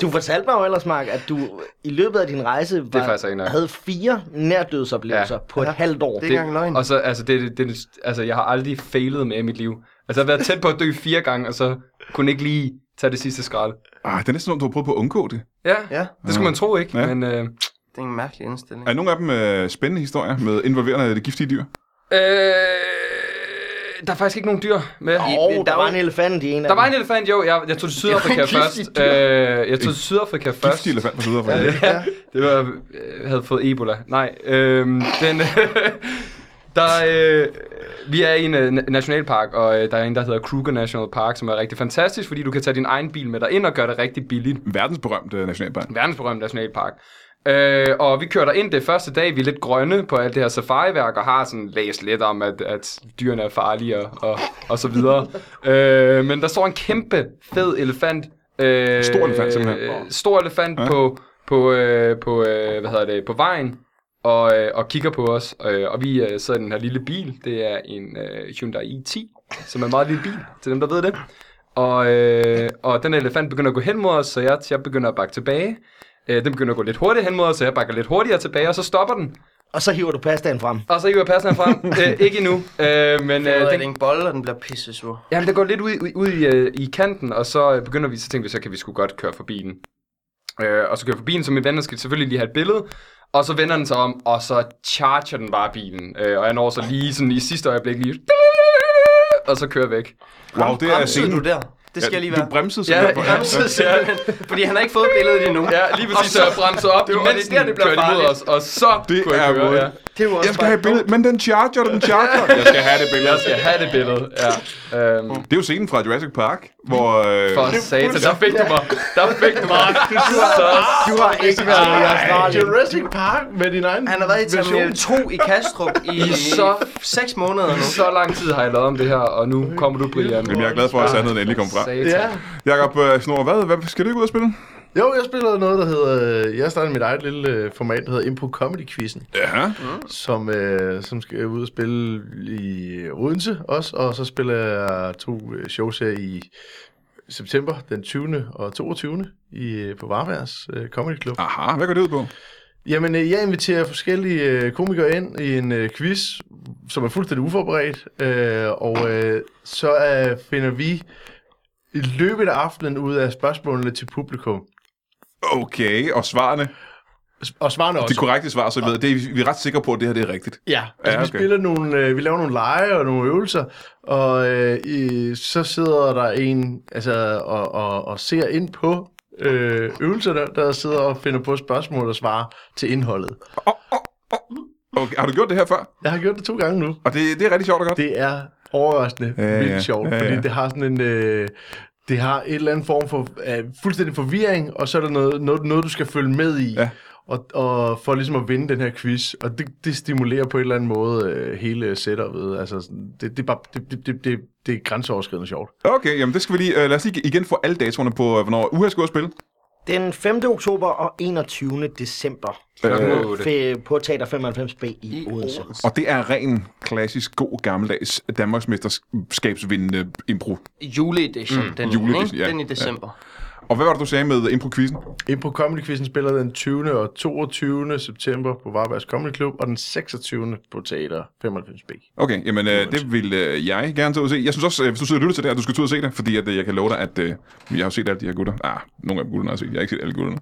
Du fortalte mig jo ellers, Mark, at du i løbet af din rejse var,
faktisk ikke nok.
havde fire nærdødsoplevelser ja. på et ja. halvt år.
Det er ikke engang løgn.
Og så, altså, det, det, det, altså, jeg har aldrig failet med i mit liv. Altså, jeg har været tæt på at dø fire gange, og så kunne ikke lige tage det sidste skrald.
Ah, det er næsten som, om, du har prøvet på at undgå det.
Ja,
Ja,
det skulle man tro, ikke?
Ja.
Ja. Men, øh,
det er en mærkelig indstilling.
Er nogle af dem øh, spændende historier med involverende det giftige dyr?
øh, der er faktisk ikke nogen dyr med.
Og der,
der
der
var-
var en elefant i en af
Der var en
dem.
elefant, jo. Jeg, jeg tog til Sydafrika
Det var en
først.
giftig
Øh,
dyr.
jeg tog til Sydafrika først.
Giftig elefant fra Sydafrika. Ja,
Ja, det var, øh, havde fået Ebola. Nej, øhm, den, der, øh, vi er i en øh, na- nationalpark, og øh, der er en, der hedder Kruger National Park, som er rigtig fantastisk, fordi du kan tage din egen bil med dig ind og gøre det rigtig billigt.
Verdensberømt øh, nationalpark.
Verdensberømt nationalpark. Øh, og vi kører ind det første dag, vi er lidt grønne på alt det her safariværk, og har sådan læst lidt om, at, at dyrene er farlige og, og, og så videre. øh, men der står en kæmpe, fed elefant. Øh,
Stor elefant, simpelthen.
Øh, stor elefant ja. på, på, øh, på, øh, hvad hedder det, på vejen og, øh, og kigger på os. Øh, og vi øh, sidder i den her lille bil. Det er en øh, Hyundai i10, som er en meget lille bil, til dem, der ved det. Og, øh, og den her elefant begynder at gå hen mod os, så jeg, jeg begynder at bakke tilbage. Øh, den begynder at gå lidt hurtigt hen mod os, så jeg bakker lidt hurtigere tilbage, og så stopper den.
Og så hiver du pastaen frem.
Og så hiver passen frem. øh, ikke endnu, øh, men
Øh,
øh,
det er
den,
en bolle, og den bliver pisse sur.
jamen, den går lidt ud, ud, ud i, øh, i kanten, og så øh, begynder vi, så tænker vi, så kan vi sgu godt køre forbi den. Øh, og så kører jeg forbi den, så min venner skal selvfølgelig lige have et billede. Og så vender den sig om, og så charger den bare bilen. Øh, og jeg når så lige sådan i sidste øjeblik lige... Og så kører jeg væk.
Wow, det er
Bremsede
scenen.
du der? Det skal
Ja,
jeg lige
du
være.
bremsede
Ja,
simpelthen.
ja.
bremsede simpelthen, fordi han har ikke fået billedet endnu.
Ja, lige præcis, så, så jeg bremser op, det imens
det
den
der, det
det
bliver
kørte imod
farligt.
os, og så
Det
kunne jeg
er
køre,
wood.
ja.
Det er jo også
Jeg skal
bare
have et billede, men den charger, den charger. Jeg skal have det billede.
Jeg skal have det billede, ja. Øhm,
Det er jo scenen fra Jurassic Park, hvor... Øh,
for satan, der fik du mig. Der fik du mig. Så,
Du har ikke været i Australien.
Jurassic Park med din egen
Han har været i Terminal
version.
2 i Kastrup i,
I
i
så-
6 måneder nu.
så lang tid har jeg lavet om det her, og nu kommer du, Brian.
Jamen, jeg er glad for, at sandheden endelig kom frem.
Satan.
Ja.
Jakob øh, Snor, hvad, hvad skal du ikke ud og spille?
Jo, jeg spiller noget, der hedder... øh, Jeg startede mit eget lille øh, format, der hedder Impro Comedy Quizzen,
Ja.
som, øh, som skal ud og spille i Odense også, og så spiller jeg to øh, shows her i september, den 20. og 22. I, øh, på Varbergs øh, Comedy Club.
Aha, hvad går det ud på?
Jamen, øh, jeg inviterer forskellige øh, komikere ind i en øh, quiz, som er fuldstændig uforberedt, øh, og øh, så øh, finder vi i løbet af aftenen ud af spørgsmålene til publikum.
Okay, og svarene.
S- Og svarene også.
De korrekte svar, så vi ved, det er, vi er ret sikre på, at det her det er rigtigt.
Ja,
Ja,
altså, ja,
okay.
okay. vi, spiller nogle, øh, vi laver nogle lege og nogle øvelser, og øh, i, så sidder der en altså, og, og, og ser ind på øh, øvelserne, der sidder og finder på spørgsmål og svarer til indholdet.
Okay, har du gjort det her før?
Jeg har gjort det to gange nu.
Og det, det er rigtig sjovt og godt.
Det er overraskende
Ja,
ja,
ja.
vildt sjovt,
Ja,
ja, ja.
ja.
fordi det har sådan en... Øh, det har et eller andet form for øh, fuldstændig forvirring, og så er der noget, noget, noget du skal følge med i,
Ja.
ja. og, og for ligesom at vinde den her quiz. Og det, det stimulerer på en eller anden måde øh, hele setupet. Altså, sådan, det, det, er bare, det, det, det, det, det er grænseoverskridende sjovt.
Okay, jamen det skal vi lige... Øh, lad os lige igen få alle datoerne på, øh, hvornår UHA skal ud og spille.
Den 5. oktober og 21. december
Klokken
Øh,
otte.
fe- på Teater 95B i Odense.
og det er ren, klassisk, god, gammeldags Danmarksmesterskabsvindende impro.
Juleedition, mm, den,
juleedition,
ikke?
ja.
den i december.
Og hvad var det, du sagde med impro-quizzen?
Impro Comedy Quizzen spiller den 20. og 22. september på Varbergs Comedy Club, og den 26. på Teater 95B.
Okay, jamen øh, det vil øh, jeg gerne tage ud og se. Jeg synes også, øh, hvis du sidder og lytter til det her, du skal tage ud og se det, fordi at, øh, jeg kan love dig, at øh, jeg har jo set alle de her gutter. Ah, nogle af dem gutterne har jeg set. Jeg har ikke set alle gutterne.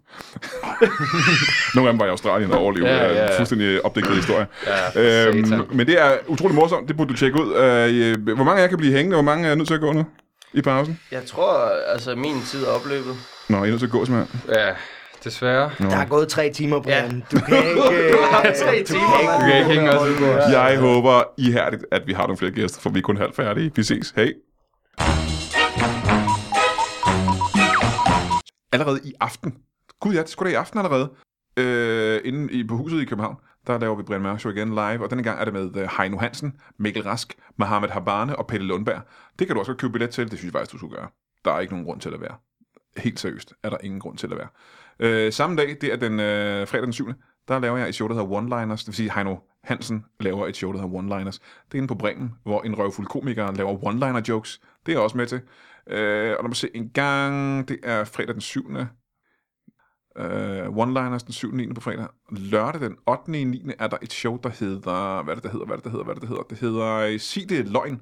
nogle af dem var i Australien og overlevede.
Ja,
Ja,
ja,
ja,
ja.
Fuldstændig opdækket historie.
Ja, satan.
men det er utrolig morsomt. Det burde du tjekke ud. Øh, øh, hvor mange af jer kan blive hængende? Hvor mange er nødt til at gå nu? I pausen?
Jeg tror, altså min tid er opløbet.
Nå, I er nødt til at gå simpelthen.
Ja, desværre.
Der er gået tre timer, Brian.
Ja.
Du kan ikke...
Du har haft tre
øh, du kan
timer,
ikke-
mand.
Du kan ikke hænge os ud på.
Jeg håber ihærdigt, at vi har nogle flere gæster, for vi er kun halvt færdige. Vi ses. Hej. Allerede i aften. Gud ja, det skulle da i aften allerede. Øh, inde i, på huset i København, der laver vi Brian Mørk Show igen live, og denne gang er det med øh, Heino Hansen, Mikkel Rask, Mohamed Habane og Pelle Lundberg. Det kan du også godt købe billet til, det synes jeg faktisk, du skulle gøre. Der er ikke nogen grund til at være. Helt seriøst er der ingen grund til at være. Øh, samme dag, det er den øh, fredag den 7., der laver jeg et show, der hedder One-Liners. Det vil sige, Heino Hansen laver et show, der hedder One-Liners. Det er inde på Bremen, hvor en røvfuld komiker laver one-liner-jokes. Det er jeg også med til. Øh, og lad mig se en gang. Det er fredag den 7. Uh, one-liners den 7. 9. på fredag. Lørdag den 8. 9. er der et show, der hedder... Hvad er det, der hedder? Hvad er det, der hedder? Hvad er det, der hedder? Det hedder øh, Sig det er løgn.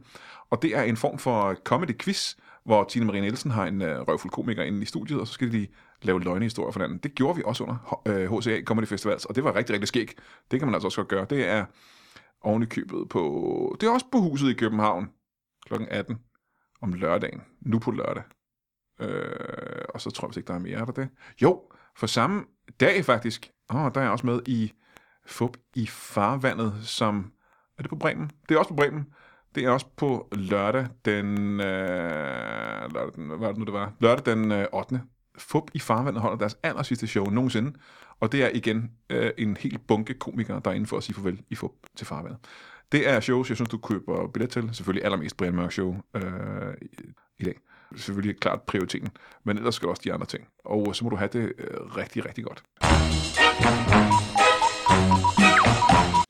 Og det er en form for comedy quiz, hvor Tine Marie Nielsen har en øh, røvfuld komiker inde i studiet, og så skal de lave løgnehistorier for hinanden. Det gjorde vi også under H- øh, HCA Comedy Festivals, og det var rigtig, rigtig skæg. Det kan man altså også godt gøre. Det er oven i købet på... Det er også på huset i København kl. 18 om lørdagen. Nu på lørdag. Øh, og så tror jeg vist ikke, der er mere, er der det? Jo, for samme dag faktisk, åh, der er jeg også med i FUB i farvandet, som... Er det på Bremen? Det er også på Bremen. Det er også på lørdag den... Øh, lørdag den hvad var det nu, det var? Lørdag den øh, 8. FUB i farvandet holder deres aller sidste show nogensinde. Og det er igen øh, en hel bunke komikere, der er inde for at sige farvel i FUB til farvandet. Det er shows, jeg synes, du køber billet til. Selvfølgelig allermest Brian Mørk Show øh, i- i dag. Selvfølgelig er klart prioriteten, men ellers skal der også de andre ting. Og så må du have det øh, rigtig, rigtig godt.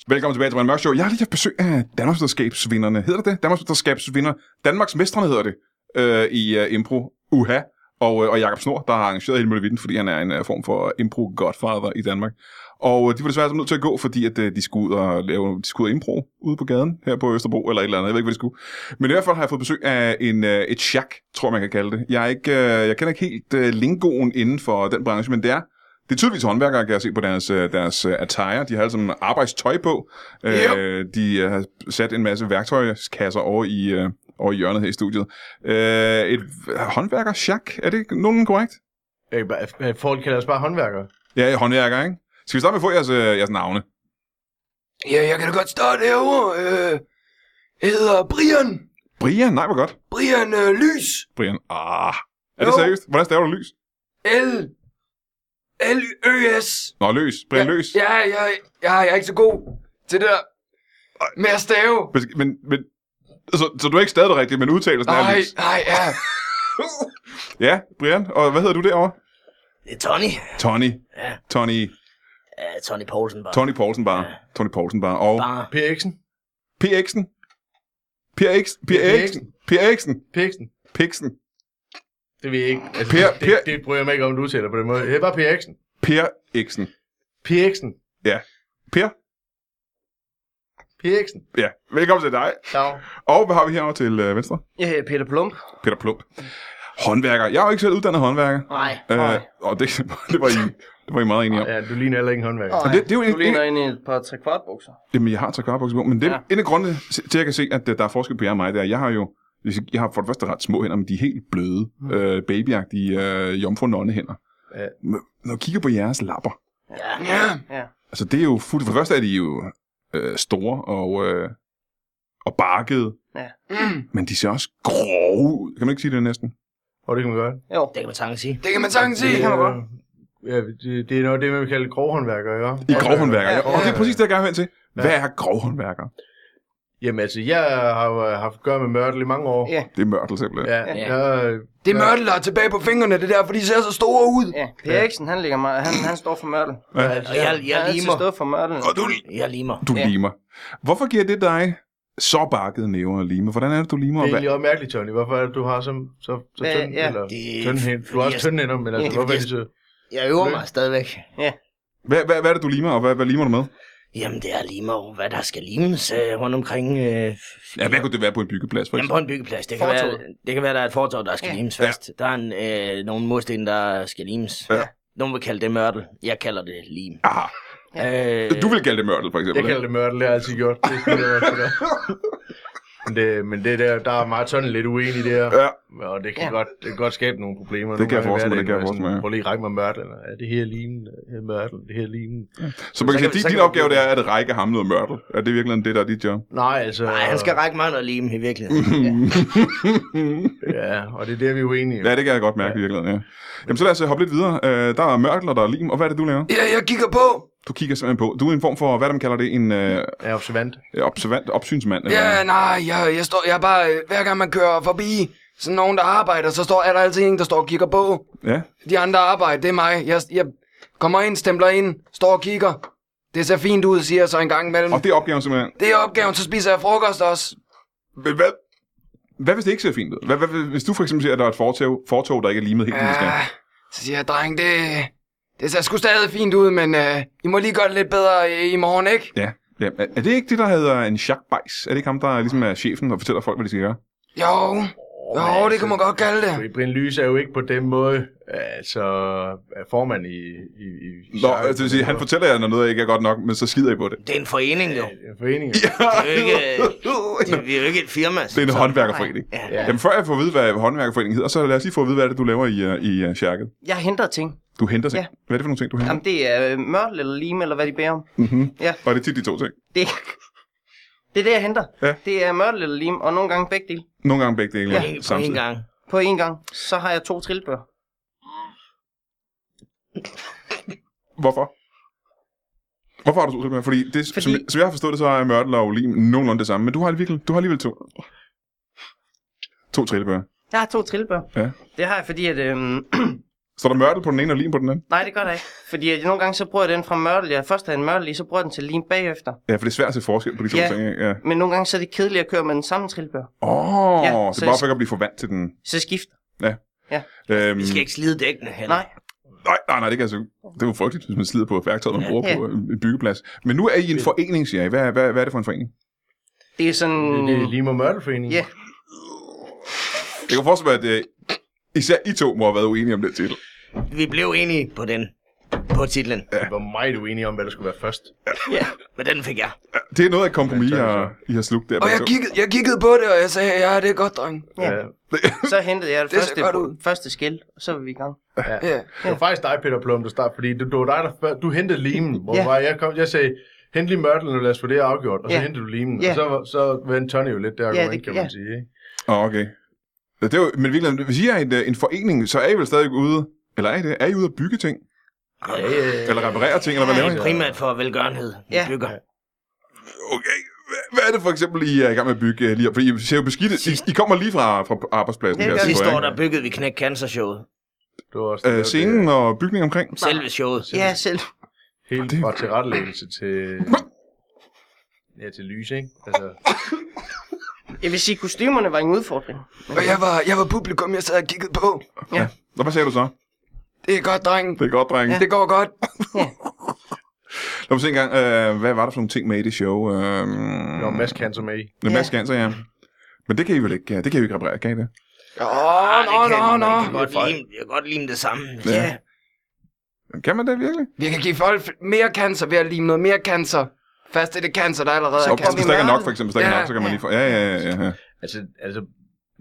Velkommen tilbage til Brian Mørk Show. Jeg har lige haft besøg af Danmarksmesterskabsvinderne. Hedder det det? Danmarksmesterskabsvinder. Danmarks mestrene hedder det øh, i øh, impro. Uha. Og, øh, og Jakob Snor, der har arrangeret hele Møllevitten, fordi han er en øh, form for impro godfather i Danmark. Og øh, de var desværre nødt til at gå, fordi at, øh, de skulle ud og lave de skulle ud og impro ude på gaden her på Østerbro, eller et eller andet. Jeg ved ikke, hvad de skulle. Men i hvert fald har jeg fået besøg af en, øh, et chak, tror jeg, man kan kalde det. Jeg, er ikke, øh, jeg kender ikke helt øh, lingoen inden for den branche, men det er det er tydeligvis håndværkere, kan jeg se på deres, øh, deres øh, attire. De har alle sammen arbejdstøj på. Øh, de øh, har sat en masse værktøjskasser over i, øh, over i hjørnet her i studiet. Øh, et håndværker Er det nogen korrekt?
Øh, bare- øh, Folk kalder os bare håndværkere.
Ja, håndværker, ikke? Skal vi starte med at få jeres, øh, jeres navne?
Ja, jeg kan da godt starte herovre. Øh, jeg hedder Brian.
Brian, nej, hvor godt.
Brian øh, Lys.
Brian, ah. Er det seriøst? Hvordan staver du lys?
L. L-Ø-S.
Nå, løs. Brian, løs.
Ja, jeg, jeg, jeg er ikke så god til det der med at stave.
Men, men, men så, så du har ikke stadig det rigtigt, men udtalelsen er
Nej,
lys.
nej, ja.
Ja, Brian. Og hvad hedder du derovre?
Det er Tony.
Tony. Tony.
Ja, Tony Poulsen bare.
Tony Poulsen bare. Tony Poulsen bare. Og...
Bare.
PX'en.
PX'en. PX, PX'en. PX'en.
PX'en.
PX'en.
Det ved jeg ikke. Altså,
Per-
det,
Per-
det, det, bryder jeg mig ikke om, du udtaler på den måde. Det er bare PX'en.
PX'en.
PX'en.
Per,
PX'en.
ja, velkommen til dig.
Dag.
Og hvad har vi herovre til øh, venstre?
Jeg hedder Peter Plump.
Peter Plump. Håndværker. Jeg er jo ikke selv uddannet håndværker.
Nej,
Øh, og det, det, var I, det var I meget enige om.
Ja, du ligner heller ikke en håndværker.
Men det, det er jo en,
Du ligner
en,
ind i et par trekvartbukser.
jamen, jeg har trakarbukser på, men det, ja.
Ja.
en af grundene til, at jeg kan se, at øh, der er forskel på jer og mig, det er, at jeg har jo jeg har for det første ret små hænder, men de er helt bløde, øh, babyagtige øh, jomfru nonnehænder.
Ja.
Men Når jeg kigger på jeres lapper,
Ja. ja.
Altså, det er jo fuldt... For det første er de jo øh, store og, øh, og barkede.
Ja.
Men de ser også grove ud. Kan man ikke sige det næsten?
Og det kan man gøre.
Jo.
Det kan man sagtens sige.
Det kan man sagtens sige.
Øh, Ja, det, det er noget af det, man vil kalde grovhåndværkere, ikke?
I grovhåndværker. Ja,
ja,
ja, Og det er præcis det, jeg gerne vil hen til.
Ja.
Hvad er grovhåndværker?
Jamen altså, jeg har jo øh, haft at gøre med mørtel i mange år.
Ja.
Det er mørtel simpelthen. Ja.
Ja, øh,
Ja.
Jeg,
Det er mørtel, der er tilbage på fingrene, det der, fordi de ser så store ud.
Ja, Per Eriksen, han, ligger meget, han, han står for mørtel.
Og jeg, jeg
han har altid
limer.
stået for mørtel.
Og du,
Jeg limer.
du
Ja.
limer. Hvorfor giver det dig så bakkede næver og limer. Hvordan er det, du limer?
Det
Og
er
hvad?
egentlig også mærkeligt, Johnny. Hvorfor er det, du har så, så, så
Ja,
tynd,
ja.
eller
Det er
tynd hænder? Du har også
fordi
tynde hænder, men altså,
det er
hvorfor er
fordi
de så...
Jeg øver mig stadigvæk.
Hvad, hvad, hvad er det, du limer, og hvad, hvad limer du med?
Jamen, det er lige meget, hvad der skal limes øh, rundt omkring. Øh,
Ja, hvad kunne det være på en byggeplads, for
Jamen
eksempel?
på en byggeplads. Det kan, være, det kan være, der er et fortov, der skal limes først. Der er en, øh, nogle mursten, der skal limes.
Ja.
Nogen vil kalde det mørtel. Jeg kalder det lim.
Aha.
Øh,
Du vil kalde det mørtel, for eksempel.
Jeg kalder det mørtel, det har jeg altid gjort. Det er sådan, det er for dig. men det, men det der, der er Martin lidt uenig i det her.
Ja,
Og det kan,
Ja.
ja. godt, det kan godt skabe nogle problemer.
Det kan jeg
Nogle
forestille
gange i
mig, det kan jeg
hverdagen,
forestille mig, ja.
hvor sådan, Prøv lige at række mig mørtel. Eller, Er det her limen? Er det mørtel? Det her limen?
så man kan
Så
sige,
kan-
at din,
så kan
din
man-
opgave det er at række ham noget mørtel. Er det virkelig det, der er dit job?
Nej, altså...
nej, han skal række mig noget lim i virkeligheden.
Ja, og det er der, vi er uenige.
Ja, det kan jeg godt mærke i virkeligheden, ja. Jamen, så lad os øh, hoppe lidt videre. Øh, der er mørtel, og der er lim, og hvad er det, du laver?
Ja, jeg kigger på.
Du kigger simpelthen på. Du er en form for, hvad de kalder det, en øh,
Jeg er observant.
observant, opsynsmand. Eller?
Ja, nej, jeg, jeg står, jeg er bare, øh, hver gang man kører forbi sådan nogen, der arbejder, så står, er der altid en, der står og kigger på.
ja.
De andre arbejder, det er mig. Jeg, jeg kommer ind, stempler ind, står og kigger. Det ser fint ud, siger jeg så en gang imellem.
Og det er opgaven simpelthen.
Det er opgaven, så spiser jeg frokost også.
Men hvad? Hvad hvis det ikke ser fint ud? Hvad, hvad, hvis du for eksempel ser, at der er et fortog, fortog der ikke er limet helt, som det skal.
Ja, så siger jeg, dreng, det, det ser sgu stadig fint ud, men uh, I må lige gøre det lidt bedre øh, i, i morgen, ikke?
Ja. ja. Er- Er det ikke det, der hedder en Jacques Beis? Er det ikke ham, der ligesom er chefen og fortæller folk, hvad de skal gøre?
Jo, jo, det kan man godt kalde det.
Fordi Brian Lyse er jo ikke på den måde, altså er formand i... i, i
Nå, altså, det vil sige, han fortæller jer, når noget ikke er godt nok, men så skider I på det.
Det er en forening, jo. Det
Foreningen.
er jo ikke, det, vi er jo ikke et firma.
Det er en håndværkerforening.
Ja.
Jamen, før jeg får at vide, hvad håndværkerforeningen hedder, så lad os lige få at vide, hvad er det, du laver i, øh, i uh, Sjerket.
Jeg henter ting.
Du henter ting.
Ja.
Hvad er det for nogle ting, du henter? Mhm.
Jamen, det er øh, mørtel eller lime, eller hvad de bærer om.
Og det er tit de to ting.
Det, det er det, jeg henter.
Ja.
Det er mørtel eller lime, og nogle gange begge dele.
Nogle gange begge dele
Ja,
ja,
på en
samtidig.
gang.
På én gang, så har jeg to trillebør.
Hvorfor? Hvorfor har du to tilbage? Fordi, det, Fordi... Som, som, jeg har forstået det, så er mørtel og olim nogenlunde det samme, men du har alligevel, du har alligevel to. To trillebøger.
Jeg har to trillebør.
Ja.
Det har jeg, fordi at... Øhm,
Så der er mørtel på den ene og lim på den anden?
nej, det gør det ikke. Fordi at nogle gange, så bruger jeg den fra mørtel. Jeg først havde en mørtel i, så bruger jeg den til lim bagefter.
Ja, for det er svært at se forskel på de to
Ja.
ting. ikke? Ja.
Men nogle gange, så er det kedeligt at køre med den samme trillebør.
Åh, oh,
Ja,
ja, så
så
det er bare
jeg-
for ikke at blive for vant til den.
Så jeg skifter.
Øhm,
Vi skal ikke slide dækkene heller.
Nej,
nej, nej, nej, det, kan altså, det er jo frygteligt, hvis man slider på værktøjet, man bruger
Ja.
på øh, en byggeplads. Men nu er I en forening, siger I. Hvad, hvad, hvad er det for en forening?
det er sådan...
Det er Lima Mørtelforeningen.
Ja,
Jeg kan forestille mig, at øh, især I to må have været uenige om den titel.
Vi blev enige på den. På titlen.
Vi var meget uenige om, hvad der skulle være først.
Ja. Men den fik jeg.
Det er noget af et kompromis, I har, I har slugt der.
Og
begge
jeg
to.
kiggede, jeg kiggede på det, og jeg sagde, ja, det er godt, dreng.
Ja.
så hentede jeg det,
Det ser
første,
godt ud.
første skil, og så var vi i gang.
Ja.
Det var faktisk dig, Peter Plum, der startede, fordi det, det var dig, der før, du hentede limen, hvor
Ja.
ja. jeg, kom, jeg sagde, hent lige mørtelen, og lad os få det afgjort, og så
Ja.
hentede du limen,
Ja.
og så, var- så vendte Tony jo lidt der, ja, det,
det-
kan
ja.
man sige. Ikke?
Åh, okay. Ja, Det er jo, men virkelig, hvis I er en, øh, en forening, så er I vel stadig ude, eller er I det? Er I ude at bygge ting? Eller reparere ting, eller hvad laver I?
Nej, primært for velgørenhed. Vi
Ja.
bygger.
Okay, Hva- hvad er det for eksempel, I er i gang med at bygge øh, lige her? Fordi I ser jo beskidt. I, I kommer lige fra, fra arbejdspladsen
Ja,
her.
det gør vi.
tænker
Sidste
jeg,
år,
ikke?
der byggede vi Knæk Cancer Showet.
Det var også
Øh, scenen og bygningen omkring.
Selve showet.
Ja, selv.
Det, helt
Det-
fra tilrettelæggelse til... Ja, til lys, ikke? Altså,
Jeg vil sige, kostymerne var en udfordring.
Og jeg var, jeg var publikum, jeg sad og kiggede på.
Og hvad sagde du så?
Det er godt, dreng.
Det er godt, drenge. Ja.
Det går godt.
Lad mig se en gang, øh, hvad var der for nogle ting med i det show? Øh,
der var masser cancer med i.
Det er Mads Ganser, ja. Men det kan I vel ikke, ja, det kan I jo ikke reparere, kan I det?
Åh, nå,
det kan
nå,
man.
nå.
Jeg kan godt lime- Jeg kan godt lime det samme. Ja.
Kan man det virkelig?
Vi kan give folk mere cancer ved at lime noget mere cancer. Fast er det cancer, der allerede
Så
er
og hvis
cancer.
der ikke er nok, for eksempel, hvis der ikke er
Ja,
nok, så kan man lige få... Ja, ja, ja. ja.
Altså, altså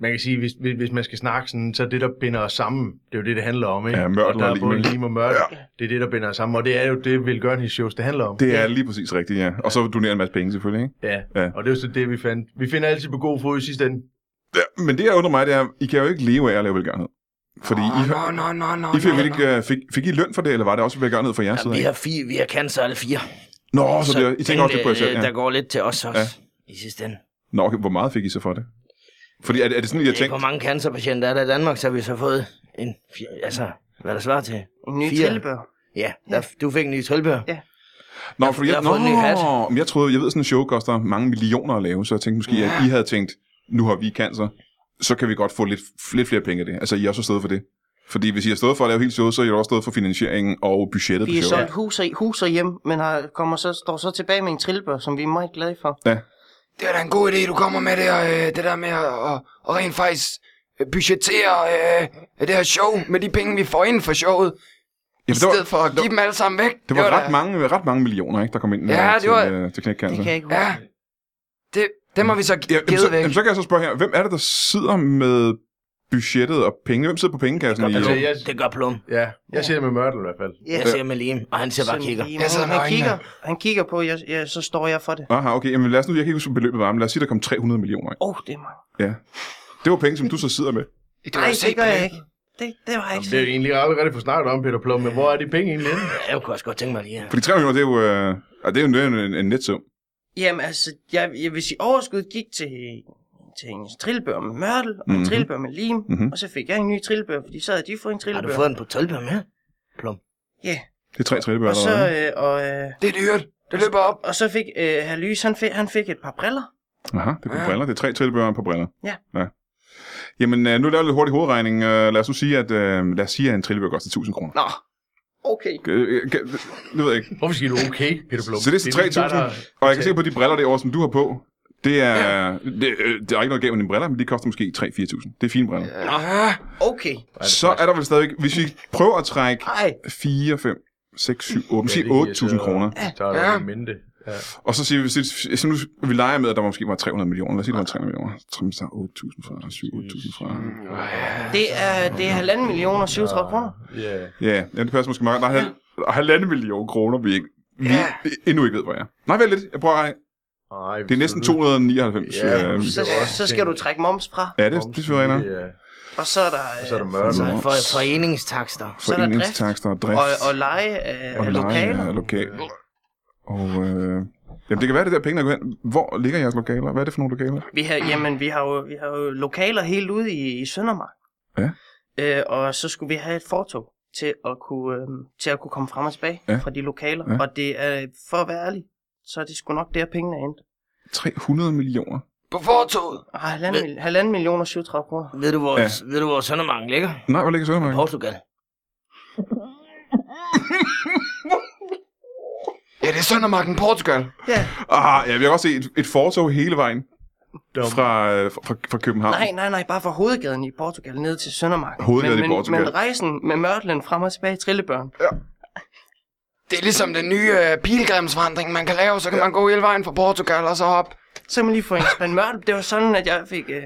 man kan sige, hvis, hvis hvis man skal snakke sådan, så er det, der binder os sammen, det er jo det, det handler om, ikke?
Ja, mørtel
der
og
er
lim,
både
ikke?
lim og mørtel, ja. det er det, der binder os sammen, og det er jo det, velgørenheds shows, det handler om.
Det er lige præcis rigtigt, ja. Og så donerer en masse penge, selvfølgelig, ikke?
Ja.
Ja.
ja, og det er jo så det, vi fandt. Vi finder altid på god fod i sidste ende.
Ja, men det, jeg undrer mig, det er, I kan jo ikke leve af at lave velgørenhed. Fordi I,
Nå, nå, nå, nå,
I fik, vel
nå, nå.
ikke, øh, fik, fik I løn for det, eller var det også velgørenhed fra jeres side?
Vi
af?
har, fire, vi har cancer alle fire.
Nå, så, det, I
den,
tænker også lidt på jer
øh,
selv,
Der
ja.
går lidt til os også.
Ja.
I sidste ende.
Nå, okay, hvor meget fik I så for det? Fordi er det, er det sådan, I har
Det er,
tænkt...
hvor mange cancerpatienter er der i Danmark, så har vi så fået en... fir- Altså, hvad der svarer til?
En ny
Fire.
trillebør.
Ja, der, du fik en ny trillebør.
Ja.
Nå, for jeg,
jeg har fået en ny hat.
nå, men jeg troede, jeg ved, sådan en show koster mange millioner at lave, så jeg tænkte måske, at I havde tænkt, nu har vi cancer, så kan vi godt få lidt, lidt flere penge af det. Altså, I har også stået for det. Fordi hvis I har stået for at lave hele showet, så har I også stået for finansieringen og budgettet
Vi er
på showet.
solgt hus og, hus og hjem, men har, kommer så, står så tilbage med en trillebør, som vi er meget glade for.
Det er da en god idé, du kommer med det, og, øh, det der med at og, og rent faktisk øh, budgettere øh, det her show med de penge, vi får ind for showet, i
Ja, for det,
stedet
var,
for at give dem alle sammen væk.
det var ret
da-
mange, ret mange millioner, ikke, der kom ind
Ja,
her
det var-
til, øh, til knækcancer.
Det kan jeg ikke huske.
Ja, det, dem har vi så
Ja,
givet
jamen, så,
væk.
jamen, så kan jeg så spørge her, hvem er det, der sidder med budgettet og penge? Hvem sidder på pengekassen? I,
Altså, jeg,
Det gør Plum.
ja, jeg siger med Mørtel i hvert fald.
Jeg ser med Lim, og han ser bare kigger.
Jeg sidder
Jamen,
med
han,
øjnene.
kigger, han kigger på, jeg, jeg, så står jeg for det.
Aha, okay, jamen lad os nu, jeg kan ikke huske, hvad beløbet var, men lad os sige, der kom 300 millioner. ikke?
Åh, oh, det er mig.
Ja. Det var penge, som du så sidder med.
Du
Nej,
har set
det gør jeg
på-
ikke. Det, det var jeg ikke
Det er jo
selv.
egentlig allerede for snart om, Peter Plum, men hvor er de penge egentlig henne?
Jeg kunne også godt tænke mig lige her.
Fordi 300 millioner, det er jo, øh, ah, det er jo en, en, en netsum.
Jamen altså, jeg, jeg vil sige, overskuddet gik til, til en trillebør med mørtel, og en
Mhm.
trillebør med lim,
Mhm.
og så fik jeg en ny trillebør, fordi så havde de fået en
Har du
trillebør.
fået den på 12 med?
Ja,
Det er tre trillebørn
og så,
allerede.
øh, og, øh,
Det er dyrt. Det løber op.
og så fik øh, herr Lys, han fik, han fik et par briller.
Aha, det er på
Ja.
briller. Det er tre trillebørn på briller.
Ja.
ja. Jamen, øh, nu laver jeg lidt hurtig hovedregning. Øh, lad os nu sige, at, øh, lad os sige, at en trillebør koster 1000 kroner.
Nå, okay.
Øh, øh, kan- Det ved jeg ikke.
Hvorfor siger du okay, Peter Plum?
Så det er så
lige dig,
3.000, og jeg kan se på de briller derovre, som du har på, det er, det, øh, det er ikke noget galt med dine briller, men de koster måske 3-4.000. Det er fine briller. Ja,
Ja.
Okay.
så er der vel stadigvæk, hvis vi prøver at trække
Ej,
4, 5, 6, 7, 8,
Ja,
måske
det giver
8.000
så-
kroner,
Så er
Ja.
der en mente. Ja.
og så siger vi, hvis så nu, vi leger med, at der måske var 300 millioner, lad os sige, der var 300 millioner, så trimmer der 8.000 fra, 7-8.000 fra.
Mm, det er, det er halvanden millioner, 37 kroner.
Ja.
Ja, ja, det passer måske meget. Der er hal- der er halvanden million kroner, vi, ikke, vi
Ja.
endnu ikke ved, hvor er. Nej, vent lidt, jeg prøver at regne.
Ej,
Det er næsten 299.
Ja.
øh,
Så,
Det er også
så skal
ting.
du trække moms fra,
Ja, det, det synes jeg, er
Ja.
og så er der,
Og
øh,
så er der Mørtel.
Så han får foreningstakster.
så er der drift,
Foreningstakster og drift.
og, og leje af, af lokaler.
Ja, lokaler. Og, øh, jamen, det kan være, det der penge, der går hen. Hvor ligger jeres lokaler? Hvad er det for nogle lokaler?
Vi har, jamen, vi har, jo, vi har jo lokaler helt ude i, i Søndermark.
Ja.
Øh, og så skulle vi have et fortog til at kunne, øh, til at kunne komme frem og tilbage
Ja.
ja. fra de lokaler.
Ja.
Ja. Og det er, for at være ærlig, så er det sgu nok der, pengene er endt.
300 millioner.
På fortoget.
Ah, Halvanden, mil, halvanden millioner 37 kroner.
Ved du, hvor,
Ja.
ved du, hvor Søndermarken ligger?
Nej, hvor ligger Søndermark?
Portugal.
Ja, det er Søndermarken, Portugal.
Ah, ja, vi har også set et, et fortog hele vejen
Dum.
fra, øh, fra, fra København.
Nej, nej, nej, bare fra hovedgaden i Portugal ned til Søndermark.
Hovedgaden
men,
i
men,
Portugal.
Men rejsen med mørtlen frem og tilbage i Trillebørn.
Det er ligesom den nye øh, pilgrimsvandring, man kan lave. Så kan man gå hele vejen fra Portugal og så op.
Så kan man lige få en spand mørtel. Det var sådan, at jeg fik, øh,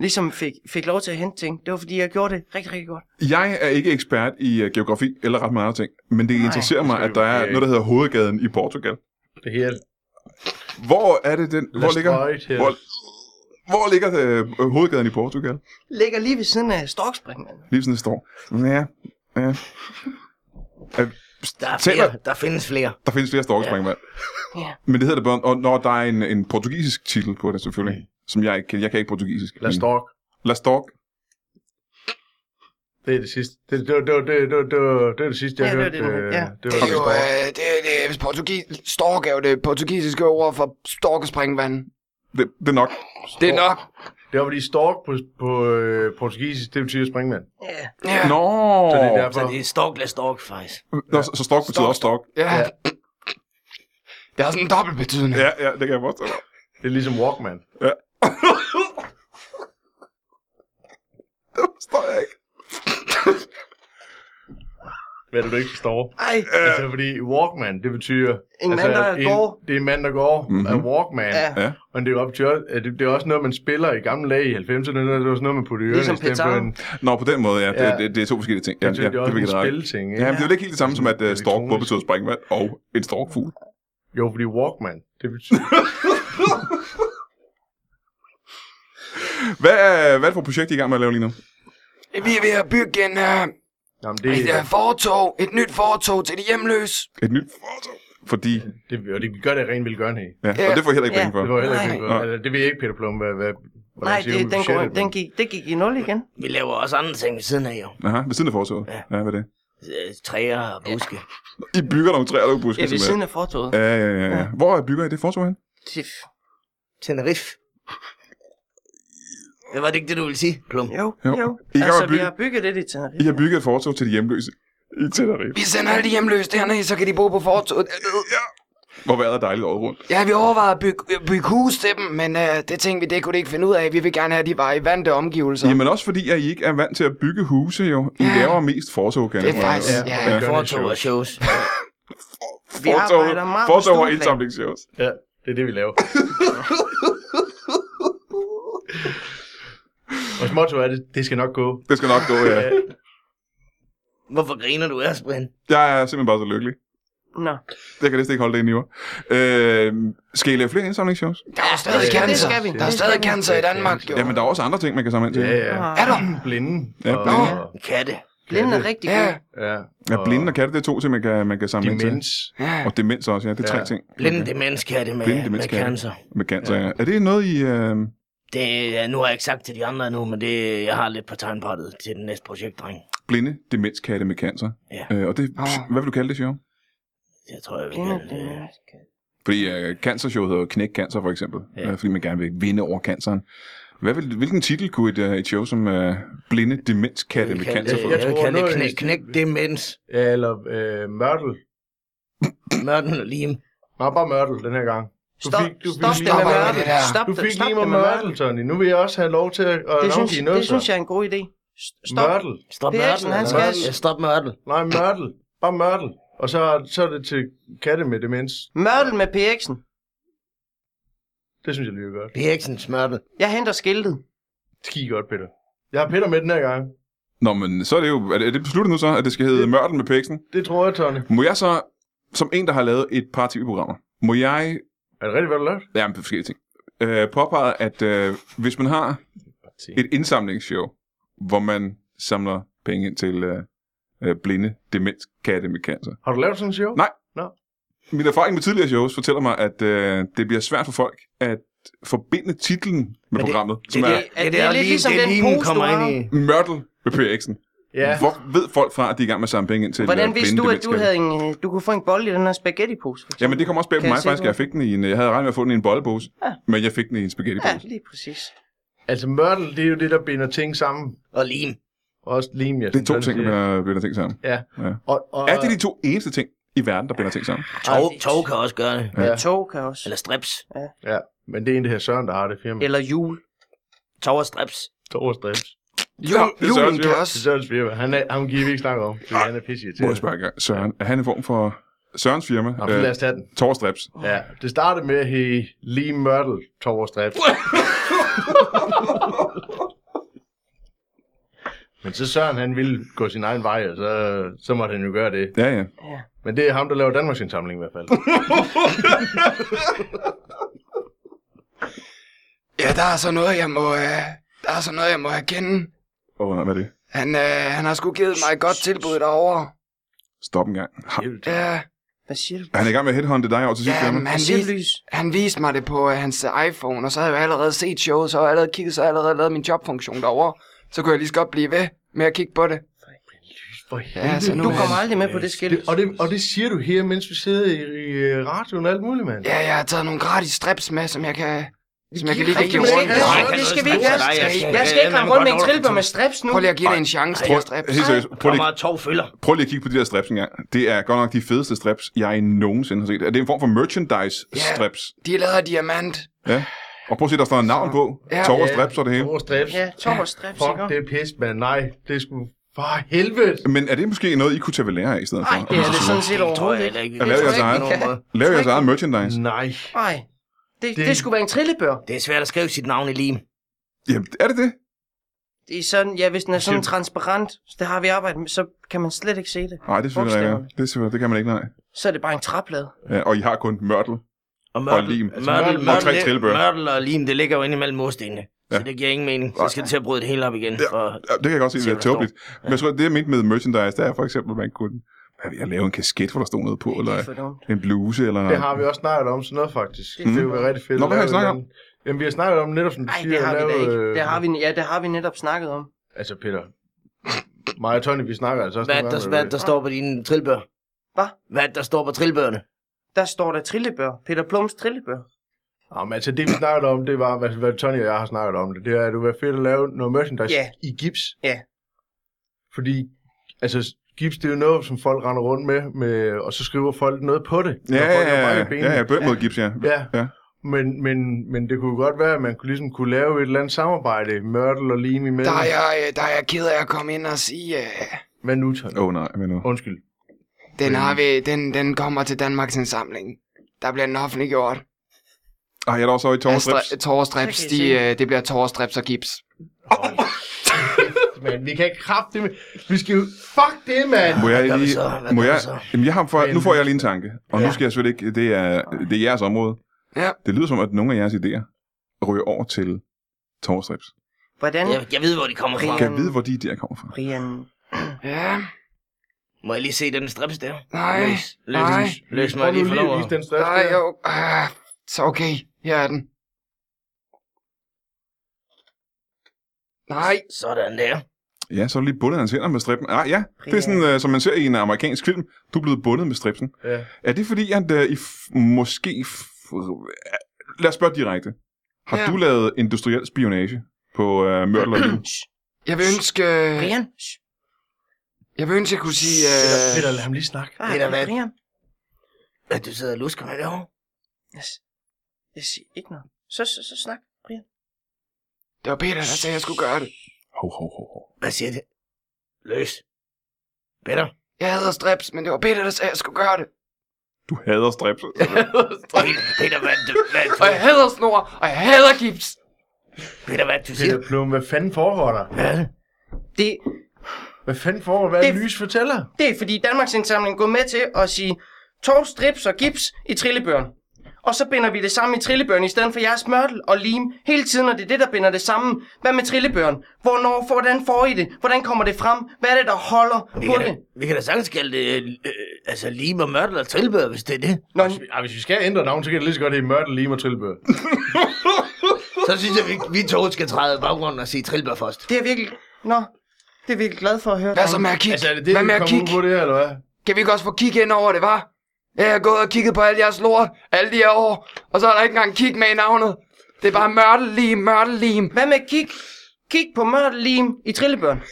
ligesom fik, fik lov til at hente ting. Det var fordi, jeg gjorde det rigtig, rigtig godt.
Jeg er ikke ekspert i uh, geografi eller ret meget ting, men det interesserer mig,
skal
at
du
der er
ikke.
noget, der hedder hovedgaden i Portugal.
Det her.
Hvor er det den? Hvor ligger,
Strøjt her.
hvor, hvor ligger øh, hovedgaden i Portugal?
Ligger lige ved siden af Storkspring, mand.
Lige sådan, det står. Ja, ja.
Der, er
Tæller.
flere, der findes flere.
Der findes flere storkespring, mand.
Ja.
Men det hedder det bare, og når der er en, en portugisisk titel på det selvfølgelig, som jeg ikke kan. Jeg kan ikke portugisisk.
Mm. Lad os stork.
La Stork.
Det er det sidste. Det, det, det, det, det, det, det, det er det sidste, jeg
Ja, det var
hørte.
det, du-
øh,
ja.
Det
Det var
er jo, øh,
det,
det, det, hvis portugis, stork er jo det portugisiske ord for storkespringvand.
Det, det er nok.
Det er nok.
det var fordi stork på, på øh, portugisisk, det betyder springvand.
Ja.
Ja.
Nå!
Så det er
Så
derfor.
det er stork, lad stork, faktisk.
Nå, så, så stork betyder også stork.
Ja.
Ja.
Det har sådan en dobbelt betydning.
Ja, ja, det kan jeg forstå.
Det er ligesom Walkman.
Det forstår jeg ikke.
Hvad du ikke forstår.
Ej,
Altså, fordi Walkman, det betyder...
En
altså,
mand, der
en,
går.
Det er en mand, der går
Mhm.
mm-hmm. af Walkman.
Ja.
Ja.
Og det er, op til, at det, det er også noget, man spiller i gamle dage i 90'erne. Det er også noget, man putter i ørerne.
Ligesom
i stedet for
petarden.
en-
Nå, på den måde, ja. Det,
Ja.
det, det er to forskellige ting. Ja,
Ja,
ja,
det, det er også
virkelig
en
ret.
spilting, ikke?
Ja, men det er jo ikke helt det samme som, at uh,
Elektronisk.
stork både betyder springvand og en storkfugl.
Jo, fordi Walkman, det betyder...
Hvad er, hvad er det for et projekt, I er i gang med at lave lige nu?
Vi er ved at bygge en, øh,
Jamen, det,
et øh,
det,
fortog, et nyt fortog til de hjemløse.
Et nyt fortog? Fordi,
det, og det, vi gør det rent vildt gerne her.
ja, og det får jeg heller ikke
Ja.
penge for.
Det var heller ikke
Nej.
penge for. Altså, det ved jeg ikke, Peter Plum, hvad... hvad hvordan
nej,
siger
det,
du
den, går,
budgettet,
den
men-
gik, det gik i nul igen.
Vi laver også andre ting ved siden af, jo.
Aha, ved siden af fortoget. Ja.
Ja.
ja, hvad er det?
øh, træer og buske.
I bygger nogle træer, der er buske.
Ja, ved siden af fortoget.
Ja, ja, ja, ja. Hvor er bygger I det fortog hen?
Tiff.
Tenerife. Det var det ikke det, du ville sige, Plum?
Jo,
Jo.
jo. jo.
I kan
altså,
godt
vi
bygge-
har bygget det i Tenerife.
I har bygget et fortog til de hjemløse i Tenerife.
Vi sender alle de hjemløse dernede, så kan de bo på fortoget.
Ja. Hvor vejret er dejligt året rundt.
Ja, vi overvejede at bygge, øh, bygge hus til dem, men øh, det tænkte vi, det kunne de ikke finde ud af. Vi vil gerne have, at de var i vante omgivelser.
Jamen også fordi, at I ikke er vant til at bygge huse, jo. I
Ja.
laver mest fortog, kan
Det er
jeg fornemme.
faktisk- ja.
ja.
Fortog og shows.
Vi
Fortog,
arbejder meget på
fortog og
stueplan.
indsamlingsshows.
Ja, det er det, vi laver. Vores motto er det, det skal nok gå.
Det skal nok gå, ja.
Hvorfor griner du ellers, Brian?
Jeg er simpelthen bare så lykkelig.
Nå,
Jeg kan næsten ikke holde det ind i mig. Øh, skal I lave flere indsamlingsshows?
Der er jo stadig
det skal
cancer.
vi.
Der er
Det
stadig
skal vi.
cancer i Danmark, jo.
Jamen, der er også andre ting, man kan samle ind til.
Ja,
Ah,
ja.
Er der?
Blinde.
Ja,
og-
blinde.
og-
Katte.
blinden er rigtig
Ja.
god.
Ja,
Ja,
og
blinde og katte, det er to ting, man kan, man kan samle ind til.
Demens.
Ja.
Og demens også, ja. Det er tre
Ja.
ting.
Blinde okay. demenskatte med,
Blinde
Blinde med
demenskatte.
cancer.
Med cancer, ja. Er det noget, I... Øh...
Det, er- nu har jeg ikke sagt til de andre nu, men det, jeg har lidt på tegnbrættet til den næste projekt, dreng.
Blinde demenskatte med cancer?
Ja.
Øh, og det,
Åh.
hvad vil du kalde det, Sjov?
Jeg tror, jeg vil
Blinden
gerne...
er
øh,
Fordi øh, cancershowet hedder jo Knæk Cancer, for eksempel. Ja.
Ja.
Øh, fordi man gerne vil vinde over canceren. Hvad vil, hvilken titel kunne et, øh, et show som øh, Blinde Demenskatte
jeg
med
vil kalde
cancer få?
det- Jeg vil
tror,
kalde det
noget-
knæk, knæk demens.
Ja, eller øh, mørtel.
Mørten og lim.
Nej, bare mørtel den her gang. Du
Stop,
fik, du fik
stop
lige-
det med
Stop
mørtel.
det der.
Stop
Du
det,
fik
stop
lige
det
med
med mørtel.
mørtel, Tony. Nu vil jeg også have lov til at at
Det synes,
navngive noget,
det synes
så.
jeg er en god idé. S- Stop.
Mørtel.
Stop
Det er
mørten.
Eriksen, han
skal...
skal-
Ja, stop mørten.
Nej, mørtel. Bare mørtel. Og så, så er det til katte med demens.
Mørtel med PX'en.
Det synes jeg lyder godt.
Eriksen smørte.
Jeg henter skiltet.
Ski godt, Peter. Jeg har Peter med den her gang.
Nå, men så er det jo... Er det, er det besluttet nu så, at det skal hedde Mørtel med Peksen?
Det tror jeg, Tony.
Må jeg så, som en, der har lavet et par tv-programmer, må jeg...
Er det rigtigt, hvad du lavede?
Ja, men forskellige ting. Øh, påpege, at øh, hvis man har et indsamlingsshow, hvor man samler penge ind til øh, øh, blinde demenskatte med cancer.
Har du lavet sådan en show?
Nej.
Nå.
Min erfaring med tidligere shows fortæller mig, at øh, det bliver svært for folk at forbinde titlen med
det-
programmet, det, som
det-
det, er
Det, er, det, er lidt ligesom den
limen
pose, du
kommer
har.
ind i.
Mørtel med PX'en.
Ja.
Hvor ved folk fra, at de er i gang med at samle penge ind til
Hvordan
øh,
vidste
blinde
du, at du,
demenskatte?
havde en, øh, du kunne få en bold i den her spaghetti-pose? for eksempel?
Jamen, det kom også bag på
Kan jeg
mig
se
faktisk.
på-
Jeg, fik den i en, jeg havde regnet med at få den i en bollebose,
Ja.
men jeg fik den i en spaghettipose.
Ja, lige præcis.
Altså, mørtel, det er jo det, der binder ting sammen.
Og lim.
Også lim, jeg
Det er to ting, der binder- binder ting sammen.
Ja.
Ja.
Og, og,
Er det de to eneste ting i verden, der binder ting sammen?
Tog, tog kan også gøre det.
Ja. Tog kan også.
Eller strips.
Ja, men det er en, det her Søren, der har det firma.
Eller jul.
Tog og strips.
Toverstrips.
Jul,
det er
julen
Sørens
kan
firma.
også.
Det er Sørens firma. Han er, ham giver vi ikke snakke om, fordi han er pisse til.
Må jeg spørge engang. Søren, er han en form for Sørens firma?
Nå,
Øh,
lad os tage den.
Torstrips.
Ja, det startede med at hedde Lee Mørtel Toverstrips. Men så Søren, han ville gå sin egen vej, og så, så måtte han jo gøre det.
Ja, ja.
Men det er ham, der laver Danmarks indsamling i hvert fald.
Ja, der er så noget, jeg må... Øh, der er så noget, jeg må erkende.
Åh, oh, hvad er det?
Han, øh, han har sgu givet mig et godt tilbud derovre.
Stop en gang. Ha-
Ja,
Hvad siger du?
Han er i gang med at headhunte dig over til sit
ja
firma.
men
Hvad
han,
siger du,
vis,
Lys?
han viste mig det på øh, hans iPhone, og så havde jeg jo allerede set showet, så havde jeg allerede kigget, så havde jeg allerede lavet min jobfunktion derovre. Så kunne jeg lige så godt blive ved med at kigge på det.
For
Ja, så nu
Du
er
kommer
han-
aldrig med på det skilt.
Det, og, det, og det siger du her, mens vi sidder i, i øh, radioen og alt muligt, mand.
Ja, jeg har taget nogle gratis strips med, som jeg kan... Som jeg kan lige kan
det,
give
skal vi
rundt.
ikke have. det skal vi ikke have. Jeg skal ikke rende rundt med en trillebør med strips nu.
Prøv lige at give det en chance, de her strips.
Helt seriøst, prøv lige,
Kommer tog følger.
prøv lige at kigge på de der strips en gang. Det er godt nok de fedeste strips, jeg nogensinde har set. Er det en form for merchandise-strips?
De er lavet af diamant.
Ja. Og prøv at se, der står et navn på.
Ja.
Torre strips og det hele.
Toverstrips.
Ja, tog og strips,
Fuck,
ikke?
det er pis, mand. Nej, det er sgu... For helvede!
Men er det måske noget, I kunne tage ved lære af i stedet for?
Nej, det er det sådan set
Tror jeg
overhovedet ikke.
heller ikke. vi
Jeg laver
kan.
jeres eget, lav jeres eget merchandise.
Nej.
Nej, det,
Det-
det, skulle være en trillebør.
Det er svært at skrive sit navn i lim.
Jamen, er det det?
Det er sådan, ja, hvis den er sådan
Siger-
transparent, så det har vi arbejdet med, så kan man slet ikke se det.
Nej, det er selvfølgelig
Bogstaverne.
rigtigt. Det, er selvfølgelig- det kan man ikke, nej.
Så er det bare en træplade.
Ja, og I har kun mørtel.
Og
lim.
mørtel, mørtel,
Og tre
mørtel,
trillebøre.
mørtel og lim, det ligger jo inde imellem murstenene. Så det giver ingen mening. Så skal det til at bryde det hele op igen. For
Ja, det kan jeg godt se, det
Se,
er
hvad der
tåbeligt. Men jeg tror, det jeg mente med merchandise, det er for eksempel, at man kunne hvad ved jeg, lave en kasket, hvor der stod noget på, eller
for dumt.
en bluse, eller...
Det har vi også snakket om sådan noget, faktisk. Det ville være rigtig fedt.
Nå, hvad har I
at lave
snakket om?
en- Jamen, vi har snakket om netop, som du
Nej,
siger.
det
at
har vi da
lave,
ikke.
øh,
Det har vi, ja, det har vi netop snakket om.
Altså, Peter. Mig og Tony, vi snakker altså også
Hvad
nogle
der,
gange med-
hvad der står på dine trillebør?
Hvad?
Hvad der står på trillebørene?
Der står der trillebør. Peter Plums trillebør.
Ja, men altså det vi snakkede om, det var, hvad, hvad Tony og jeg har snakket om det, det er, at det ville være fedt at lave noget merchandise
Ja.
i gips.
Ja.
Fordi, altså gips, det er jo noget, som folk render rundt med, med og så skriver folk noget på det.
Ja,
når folk har
ja,
brækket
ja,
benet.
ja, ja, bøn mod gips, ja.
Ja.
Ja.
ja. Men, men, men det kunne godt være, at man kunne, ligesom kunne lave et eller andet samarbejde, Mørtel og Lim imellem.
Der er jeg, øh, der er jeg ked af at komme ind og sige, øh,
Hvad nu, Tony?
Åh oh, nej, men nu.
Undskyld.
den, har vi, den, den kommer til Danmarks indsamling. Der bliver den offentliggjort.
Ej, jeg er der også over i tårnstrips.
Torstrips,
Så kan I
de,
se.
øh, det bliver torstrips og gips.
Men vi kan ikke kraft det med. Vi skal jo... Fuck det, mand!
Må
Hvad gør
jeg
vi
lige...
så? Hvad
Må
gør vi
jeg,
så?
jamen, jeg har for, nu får
Men-
jeg lige en tanke, og ja. nu
Ja.
skal jeg selvfølgelig ikke... Det er, det er jeres område.
Ja.
Det lyder som, at nogle af jeres idéer ryger over til tårnstrips.
Hvordan?
Jeg, jeg ved, hvor de kommer fra.
Kan jeg vide, hvor de idéer kommer fra?
Brian.
Ja,
Må jeg lige se den strips der?
nej.
Løs, løs,
Nej.
løs
Prøv
mig
nu
lige for
lige at
lov.
vise den stress
Nej,
der.
jo. Øh, så okay, her er den. Nej,
Sådan der.
Ja, så er du lige bundet hans hænder med strippen. Ah, ja, det er
Ja.
sådan, øh, som man ser i en amerikansk film. Du er blevet bundet med stripsen.
Ja.
Er det fordi, at øh, I f- måske... F- øh, lad os spørge direkte. Har
Ja.
ja. du lavet industriel spionage på øh, Mørtel og Lin?
jeg vil ønske... øh,
Brian. Shh.
Jeg vil ønske, jeg kunne sige... Øh,
Peter, lad ham lige snakke.
Ah,
Det er da hvad-
Brian.
Hvad, du sidder og lusker mig derovre?
Jeg, s- jeg siger ikke noget. Så, så, så snak.
det var Peter, der sagde, jeg skulle gøre det.
Ho, ho, ho, ho.
Hvad siger det? Løs. Peter.
Jeg hedder Strips, men det var Peter, der sagde, jeg skulle gøre det.
Du hader strips.
Peter, Peter, hvad, du, hvad,
Og jeg
du,
hader snor, og jeg hader gips.
Peter, hvad, du siger?
Peter Plum, hvad fanden foregår der?
Hvad er det?
Det,
Hvad fanden foregår? Hvad er
Det-
det, Lys fortæller?
det er fordi Danmarks Indsamling går med til at sige tov, strips og gips i trillebøren. Og så binder vi det sammen i trillebøren i stedet for jeres mørtel og lim. Hele tiden er det det, der binder det sammen. Hvad med trillebøren? Hvornår, hvordan får I det? Hvordan kommer det frem? Hvad er det, der holder
Vi
på
kan, da,
det?
vi kan da sagtens kalde det, øh, øh, altså lime og mørtel og trillebør, hvis det er det.
Nå,
Ja, hvis vi skal ændre navn, så kan det lige så godt hedde Mørtel, Lim og Trillebør.
Så synes jeg, vi, vi to skal træde i baggrunden og sige trillebør først.
det er virkelig... Nå, det er virkelig glad for at høre.
Hvad så
drenge.
med at kigge?
Altså, er det det,
Hvad
vi
med at
kommer ud
kigge?
på det her, eller hvad?
Kan vi ikke også få kig ind over det, var? Jeg har gået og kigget på alle jeres lort, alle de her år, og så er der ikke engang kig med i navnet. Det er bare mørtelim, mørtelim.
Hvad med kig? Kig på mørtel, lim i trillebøren.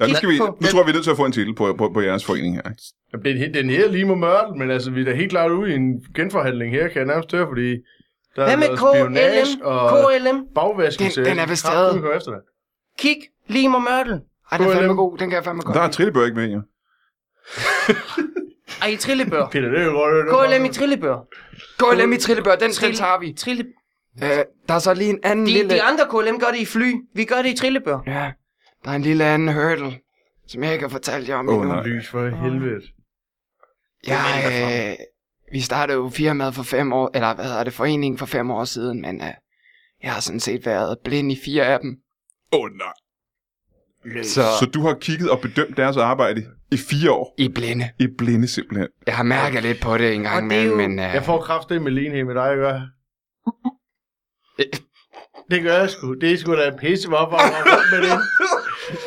Ja, nu, skal vi,
Kig på
nu tror jeg, vi er nødt til at få en titel på, på, på jeres forening her. ikke?
Jamen, det er, en helt- det er en helt Lim og Mørtel, men altså, vi er da helt klart ude i en genforhandling her, kan jeg nærmest høre, fordi... Der
Hvad
er
med
noget
KLM?
Altså, spionage og
KLM?
bagvaskelse.
Den- den er vist stadig.
Kraften går efter dig.
Kig, lim og mørtel.
Ej, den er fandme
KLM.
god, den kan jeg fandme godt.
Der er Trillebør ikke med, ja.
Ej, i trillebør.
Peter, det er jo godt. det er godt.
KLM i trillebør.
KLM i Trillebør, den, den tager vi.
Trille...
Øh, der er så lige en anden
De,
lille...
de andre KLM gør det i fly. Vi gør det i trillebør.
Ja, der er en lille anden hurdle, som jeg ikke har fortalt jer om
Åh,
endnu.
nej.
Lys for helvede.
Jeg, øh, vi startede jo firmaet for fem år, eller hvad hedder det, foreningen for fem år siden, men øh, jeg har sådan set været blind i fire af dem.
Åh, oh, nej.
Så
Så du har kigget og bedømt deres arbejde i fire år.
I er blinde.
I er blinde simpelthen.
Jeg har mærket lidt på det en gang
Og det er
imellem,
jo-
men øh,
Jeg får kraftet med Line med dig, gør jeg? Det gør jeg sgu. Det er sgu da pisse, hvorfor jeg render rundt med den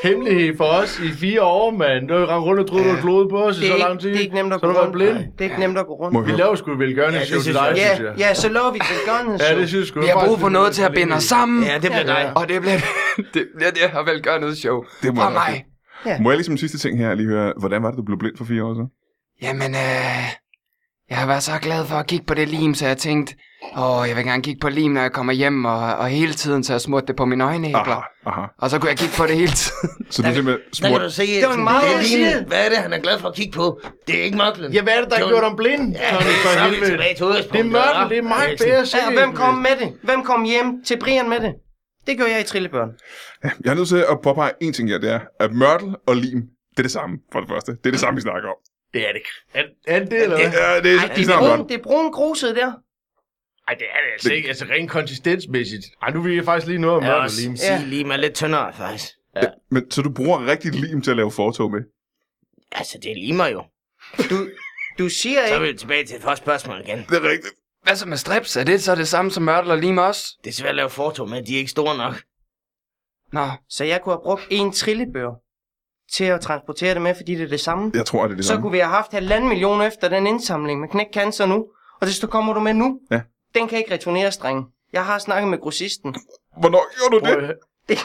hemmelighed for os i fire år, mand. Du har jo rendt rundt og troet, du har kloet på os i
Det er,
så lang
ikke,
tid.
det er ikke nemt at
Så
gå
har du været
rundt.
blind.
Det er ikke nemt at gå rundt.
Må jeg
Vi
høre?
laver sgu vel gerne
Ja,
en
det
show til
synes
dig,
jeg.
synes
Ja,
jeg.
ja, så lover vi til Gunners
Ja, det synes jeg sgu.
vi har
faktisk,
brug for
det er
noget til at
lidt
binde os
ligegyldigt.
sammen,
Ja, det bliver dig.
og det bliver det, bliver det her velgørende show
Det må
fra
jeg nok
mig.
Må jeg ligesom sidste ting her lige høre, hvordan var det, du blev blind for fire år siden?
Jamen, øh, jeg har været så glad for at kigge på det lim, så jeg tænkte, åh, jeg vil gerne kigge på lim, når jeg kommer hjem, og, og hele tiden, så jeg smurte det på mine øjenæbler.
Aha, aha.
Og så kunne jeg kigge på det hele tiden.
Så du er simpelthen
Der kan du
smurt...
se, det
var en meget
er Line.
side.
Hvad er det, han er glad for at kigge på? Det er ikke mørklen.
Ja, hvad er det, der har
Jo.
gjort om blind?
Ja,
Nå, det er for
så er vi
helvede.
tilbage til udgangspunktet,
Det er mørkt, det er
hva'?
meget bedre
Ja, og hvem kom med det? Hvem kom hjem til Brian med det? Det gjorde jeg i trillebøren.
Jeg er nødt til at påpege en ting her, det er, at mørtel og lim, det er det samme, for det første. Det er det samme, vi snakker om.
Det er det. Er, er det det, eller hvad?
Ja, det er,
Ej,
de
det er
snakker om
brun,
mørtel.
det er brun gruset der.
Ej, det er det altså ikke. Altså, rent konsistensmæssigt. Ej, nu vil jeg faktisk lige noget om
Jeg vil
mørkt og
også
lim.
sige, lime er lidt tyndere, faktisk.
Men, så du bruger rigtig lim til at lave fortog med?
Altså, det er limer jo.
Du, du siger
Så er
ikke...
vi tilbage til et første spørgsmål igen.
Det er rigtigt.
Hvad så med strips? Er det så det samme som mørtel og lim også?
Det er svært at lave foto med, de er ikke store nok.
Nå,
Så jeg kunne have brugt en trillebør til at transportere det med, fordi det er det samme.
Jeg tror, det er det
så
samme.
kunne vi have haft halvanden million efter den indsamling med knæk cancer nu. Og det så kommer du med nu.
Ja.
Den kan ikke returneres, drenge. Jeg har snakket med grossisten.
Hvornår gjorde du det?
Prøv at-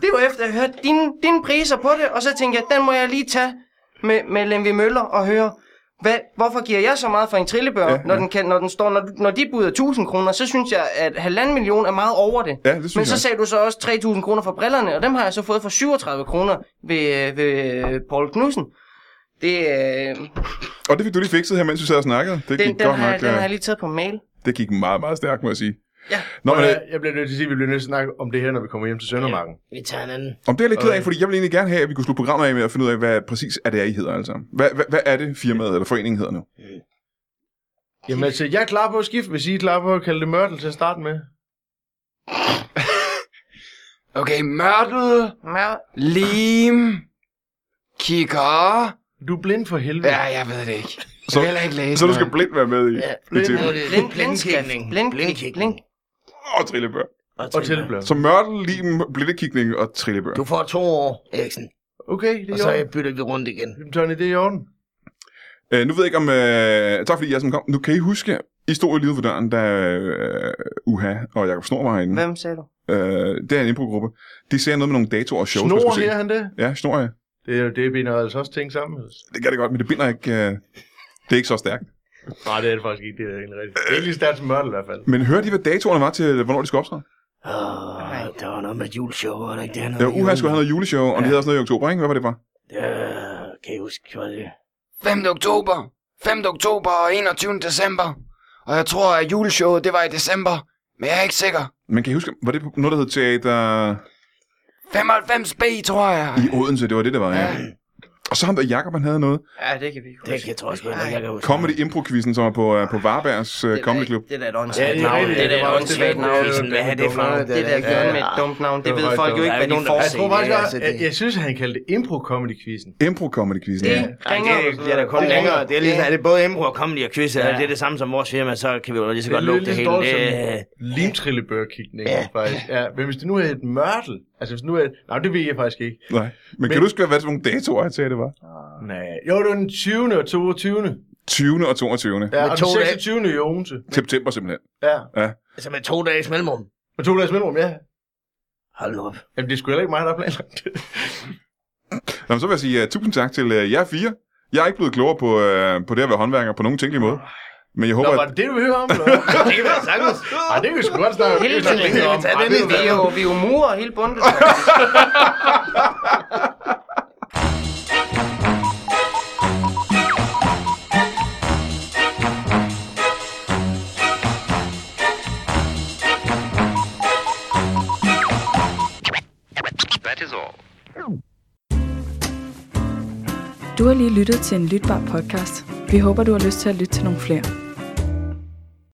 Det var efter, at jeg hørte dine, dine priser på det, og så tænkte jeg, den må jeg lige tage med, med Lemvi Møller og høre, hvad, hvorfor giver jeg så meget for en trillebør,
Ja,
ja,
ja.
ja. Når, den kan, når den står, når, når de buder 1000 kroner, så synes jeg, at halvanden million er meget over det.
Ja, det synes
Men
jeg.
så sagde du så også 3000 kroner for brillerne, og dem har jeg så fået for 37 kroner ved, ved Paul Knudsen. Det, øh,
Og det fik du lige fikset her, mens vi sad og snakkede. Det gik
den, den,
godt
har,
nok.
jeg- den har jeg
øh,
lige taget på mail.
Det gik meget, meget stærkt, må jeg sige.
Ja.
Nå, men, øh,
jeg, jeg bliver nødt til at sige, at vi bliver nødt til at snakke om det her, når vi kommer hjem til Søndermarken.
Vi tager en anden.
om det er jeg lidt ked af, fordi jeg vil egentlig gerne have, at vi kunne slutte programmet af med at finde ud af, hvad præcis er det, er, I hedder altså. Hvad, hvad, hvad er det, firmaet eller foreningen hedder nu?
Jamen altså, jeg er klar på at skifte, hvis I er klar på at kalde det mørtel til at starte med.
Okay, mørtel,
Ja,
lim, kigger.
Du er blind for helvede.
Ja, jeg ved det ikke. Jeg
Så-
kan heller ikke læse
Så du skal
noget.
blindt være med i,
Ja,
i til
blind, blindskrift. Blind, blind, blind.
Blindkikning.
og trillebør.
Og tilblad.
Så mørtel, lim, blindekikning og trillebør.
Du får to år, Eriksen.
Okay, det
Og
er i
så
orden.
bytter vi rundt igen.
Jamen, Tony, det er i orden.
Øh, nu ved jeg ikke om... Øh, tak fordi I er som kom. Nu kan I huske, I stod jo lige ude for døren, da øh, Uha og Jakob Snor var herinde.
Hvem sagde du?
Øh, det er en improgruppe. De ser noget med nogle datoer og shows, man
Snor
skulle se.
her han det?
Ja, snor jeg.
Det er jo det, binder altså også ting sammen.
Det kan det godt, men det binder ikke... Øh, det er ikke så stærkt.
Nej, det er det faktisk ikke. Det er egentlig rigtigt. Det er ikke lige stærkt som mørtel i hvert fald.
Men hørte I, hvad datorerne var til, hvornår de skulle optræde?
Åh, der var noget med et juleshow, var der ikke det? Han
Ja, Uha skulle have noget juleshow, og det hedder også noget i oktober, ikke? Hvad var det for?
Ja, kan I huske, hvad det
5. oktober. 5. oktober og 21. december. Og jeg tror, at juleshowet, det var i december. Men jeg er ikke sikker.
Men kan I huske, var det på noget, der hed Teater
95B, tror jeg.
i Odense? Det var det, der var, ja. Og så ham der Jakob, han havde noget.
Ja, det kan vi ikke
Det kan jeg tror jeg sgu heller ikke, jeg kan huske.
Comedy Impro-quizzen, som var på, øh, på Varbergs øh, Comedy Club.
Det er da et
Ja,
åndssvagt
det
er
navn.
rigtigt.
Det er da
Det
et
var også
åndssvagt
det,
navn.
det er jo-
Hvad er det for noget?
Det der gjorde med et dumt navn, det
Det
ved
var
folk jo
dumt.
ikke,
Der er
hvad de
ikke nogen, der
får.
Jeg
Se,
tror faktisk,
det er altså
jeg,
det.
jeg synes, at han kaldte det impro-comedy-quizzen.
Impro-comedy-quizzen. Ja.
Det ringer.
Nej, det bliver da kun længere. Det er ligesom, er det både Embro og Comedy og Quiz, ja. det er det samme som vores firma, så kan vi jo lige så godt lukke det hele. Det,
som limtrillebørkikning,
Ja.
faktisk. Ja, men hvis det nu er et mørtel, altså hvis det nu er... Nej, det ved jeg faktisk ikke.
Nej. Men, kan du huske, hvad det var nogle datoer, jeg sagde, det var?
Nej. Jo, det var den 20. og 22.
20. og 22. Ja.
Ja, og
to
den
dage.
26. i Odense.
September simpelthen.
Ja.
altså med to dages mellemrum.
Og to dages mellemrum, ja.
Hold nu op.
Jamen, det er sgu heller ikke mig, der har planlagt det.
Nå, men så vil jeg sige uh, tusind tak til uh, jer fire. Jeg er ikke blevet klogere på, uh, på det at være håndværker på nogen tænkelig måde. Men jeg
Nå,
håber,
var
at...
det det, du ville høre om? Eller? hvad?
Det kan være sagtens.
Ej, det kan vi sgu godt snakke om.
Hele
Det kan vi
tiden.
snakke
om.
om.
Ej,
Ej, det
Vi er
er jo-
jo, vi er jo murer hele bundet.
Du har lige lyttet til en lytbar podcast. Vi håber, du har lyst til at lytte til nogle flere.